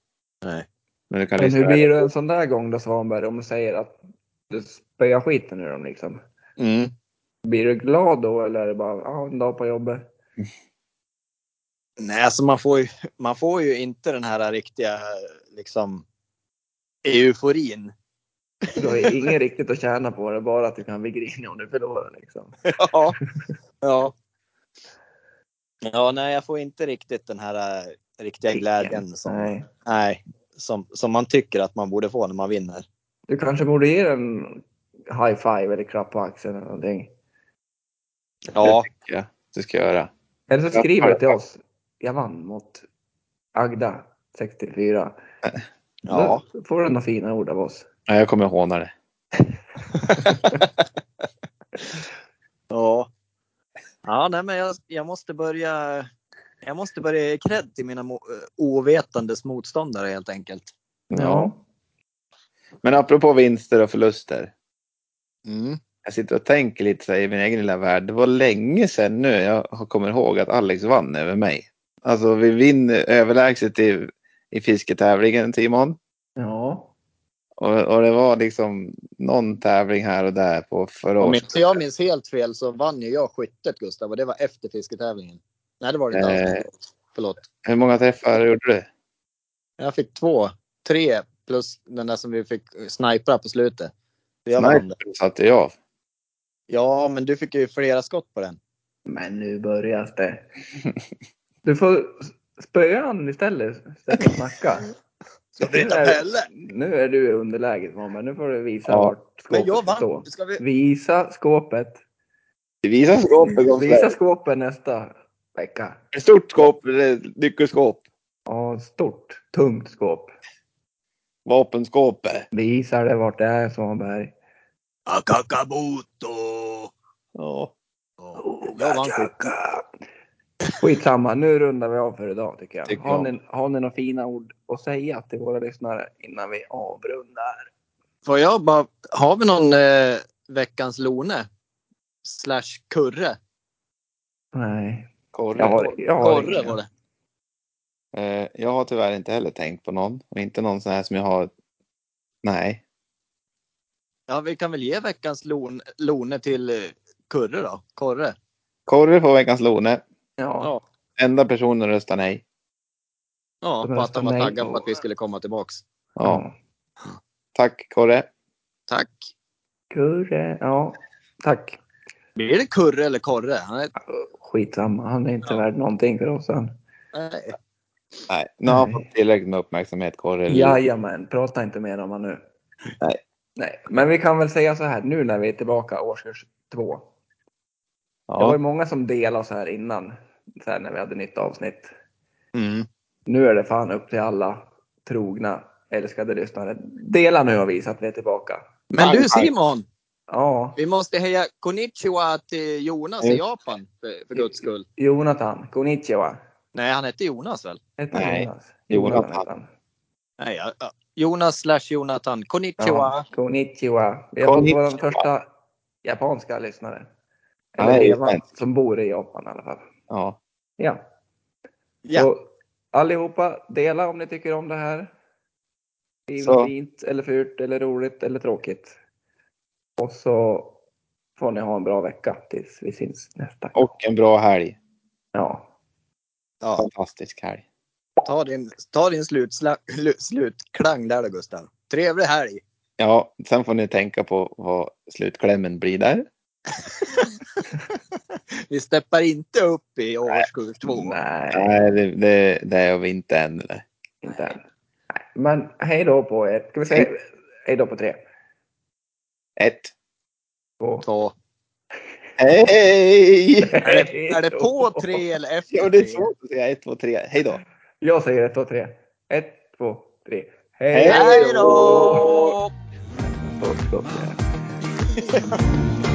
Speaker 4: Nej.
Speaker 2: Men du kan
Speaker 3: Men
Speaker 2: lyssna.
Speaker 3: hur blir du en sån där gång då Svanberg om du säger att du spöar skiten ur dem liksom?
Speaker 4: Mm.
Speaker 3: Blir du glad då eller är det bara ja, en dag på jobbet?
Speaker 4: Nej, alltså man får, ju, man får ju inte den här riktiga liksom euforin.
Speaker 3: Du har ju ingen riktigt att tjäna på det, bara att du kan bli grinig om du förlorar liksom.
Speaker 4: Ja. ja. Ja, nej, jag får inte riktigt den här äh, riktiga glädjen som,
Speaker 3: Nej.
Speaker 4: nej, som, som man tycker att man borde få när man vinner.
Speaker 3: Du kanske borde ge en high five eller klapp på axeln eller någonting.
Speaker 4: Ja,
Speaker 2: Ja, det ska jag göra.
Speaker 3: Eller så
Speaker 2: Klapp
Speaker 3: skriver
Speaker 2: på
Speaker 3: du till oss. Jag vann mot Agda 64.
Speaker 4: Ja,
Speaker 3: Då får du några fina ord av oss.
Speaker 2: Nej, jag kommer håna det.
Speaker 4: ja. Ja, nej, men jag, jag måste börja. Jag måste börja ge cred till mina mo- eh, ovetandes motståndare helt enkelt.
Speaker 3: Ja.
Speaker 2: Men apropå vinster och förluster.
Speaker 4: Mm.
Speaker 2: Jag sitter och tänker lite så här i min egen lilla värld. Det var länge sedan nu jag har- kommer ihåg att Alex vann över mig. Alltså vi vinner överlägset i, i fisketävlingen Timon.
Speaker 3: Ja.
Speaker 2: Och, och det var liksom någon tävling här och där på förra
Speaker 4: Om
Speaker 2: året.
Speaker 4: inte jag minns helt fel så vann ju jag skyttet Gustav och det var efter fisketävlingen. Nej, det var det inte
Speaker 2: Eh.
Speaker 4: alls. Förlåt.
Speaker 2: Hur många träffar gjorde du?
Speaker 4: Jag fick två, tre plus den där som vi fick snipra på slutet. Så jag vann
Speaker 2: Sniper
Speaker 4: det.
Speaker 2: satte jag av.
Speaker 4: Ja, men du fick ju flera skott på den.
Speaker 3: Men nu börjar det. Du får spöa han istället. Istället för att snacka.
Speaker 4: Ska
Speaker 3: vi ta heller? Nu är du i underläge men nu får du visa
Speaker 2: Ja.
Speaker 3: vart
Speaker 4: Men jag
Speaker 3: skåpet
Speaker 4: vann.
Speaker 3: står.
Speaker 4: Ska vi...
Speaker 3: Visa skåpet.
Speaker 2: Visa skåpet
Speaker 3: Visa
Speaker 2: Gotland.
Speaker 3: skåpet nästa vecka.
Speaker 2: Ett stort skåp, eller ett nyckelskåp,
Speaker 3: Ja, stort, tungt skåp.
Speaker 2: vapenskåpet.
Speaker 3: Visa det vart det är Svanberg.
Speaker 4: Akakamoto!
Speaker 2: Ja.
Speaker 4: Jag vann typ. skit.
Speaker 3: Skitsamma, nu rundar vi av för idag tycker jag.
Speaker 2: Tycker
Speaker 3: har,
Speaker 2: jag.
Speaker 3: ni, har ni några fina ord att säga till våra lyssnare innan vi avrundar?
Speaker 4: Får jag bara... Har vi någon eh, veckans Lone? Slash Kurre?
Speaker 3: Nej.
Speaker 2: Korre.
Speaker 3: Jag har, jag har
Speaker 4: Korre
Speaker 3: ingen.
Speaker 4: var det.
Speaker 2: Eh, jag har tyvärr inte heller tänkt på någon. Och inte någon sån här som jag har. Nej.
Speaker 4: Ja, vi kan väl ge veckans lon, Lone till eh, Kurre då? Korre?
Speaker 2: Korre på veckans Lone.
Speaker 3: Ja,
Speaker 4: Ja.
Speaker 2: Enda personen röstar nej.
Speaker 4: Ja,
Speaker 3: De
Speaker 4: på att han
Speaker 3: röstar
Speaker 4: var
Speaker 3: nej
Speaker 4: taggad på
Speaker 3: på-
Speaker 4: att vi skulle komma tillbaks.
Speaker 2: Ja. Tack Korre.
Speaker 4: Tack.
Speaker 3: Kurre, ja. Tack.
Speaker 4: Blir det Kurre eller Korre? Han är...
Speaker 3: Skitsamma, han är inte
Speaker 4: Ja.
Speaker 3: värd någonting för oss än.
Speaker 4: Nej.
Speaker 2: Nej. Nu har han
Speaker 3: Nej.
Speaker 2: fått tillräckligt med uppmärksamhet Korre.
Speaker 3: Jajamän, prata inte mer om honom nu.
Speaker 2: Nej.
Speaker 3: Nej, men vi kan väl säga så här nu när vi är tillbaka årskurs två. Det var ju
Speaker 2: Ja.
Speaker 3: många som delade så här innan, så här när vi hade nytt avsnitt.
Speaker 4: Mm.
Speaker 3: Nu är det fan upp till alla trogna älskade lyssnare. Dela nu och visa att vi är tillbaka.
Speaker 4: Men du
Speaker 2: Tack, tack.
Speaker 4: Simon,
Speaker 3: Ja,
Speaker 4: vi måste heja konnichiwa till Jonas
Speaker 2: Eh.
Speaker 4: i Japan för, för guds skull.
Speaker 3: Jonathan, konnichiwa. alltså.
Speaker 4: Nej, han hette Jonas väl?
Speaker 3: Heter
Speaker 2: Nej,
Speaker 3: Jonas.
Speaker 2: Jonathan.
Speaker 3: heter han.
Speaker 4: Nej, ja, ja. Jonas slash Jonathan. Konnichiwa.
Speaker 3: Ja, konnichiwa. Vi har fått
Speaker 2: Konnichiwa.
Speaker 3: vår första japanska lyssnare.
Speaker 2: Ja,
Speaker 3: Eller
Speaker 2: det är
Speaker 3: Eva,
Speaker 2: fint.
Speaker 3: som bor i Japan i alla fall.
Speaker 2: ja.
Speaker 3: Ja.
Speaker 4: Ja.
Speaker 3: Så allihopa, dela om ni tycker om det här. Skriv
Speaker 2: Så.
Speaker 3: något fint eller fult eller roligt eller tråkigt. Och så får ni ha en bra vecka tills vi syns nästa gång.
Speaker 2: Och en bra helg.
Speaker 3: Ja.
Speaker 4: Ja,
Speaker 2: Fantastisk helg.
Speaker 4: ta din, ta din slutsla, lu- slutklang där då Gustav. Trevlig helg.
Speaker 2: Ja, sen får ni tänka på vad slutklämmen blir där.
Speaker 4: Vi steppar inte upp i årskurs två.
Speaker 3: Nej,
Speaker 2: Nej, det, det, det är vi inte än. eller?
Speaker 3: inte än. Nej. Men hej då på er. Ska vi säga hej då på tre?
Speaker 2: Ett.
Speaker 3: Två.
Speaker 4: Så.
Speaker 2: Hej!
Speaker 4: Är, det, är det på tre eller
Speaker 2: Ja,
Speaker 4: efter
Speaker 2: det är
Speaker 4: tre?
Speaker 2: svårt att säga ett, två, tre. Hej då!
Speaker 3: Jag säger ett, två, tre. Ett, två, tre.
Speaker 2: Hej
Speaker 4: Hej då!
Speaker 3: Stopp, stopp, stopp.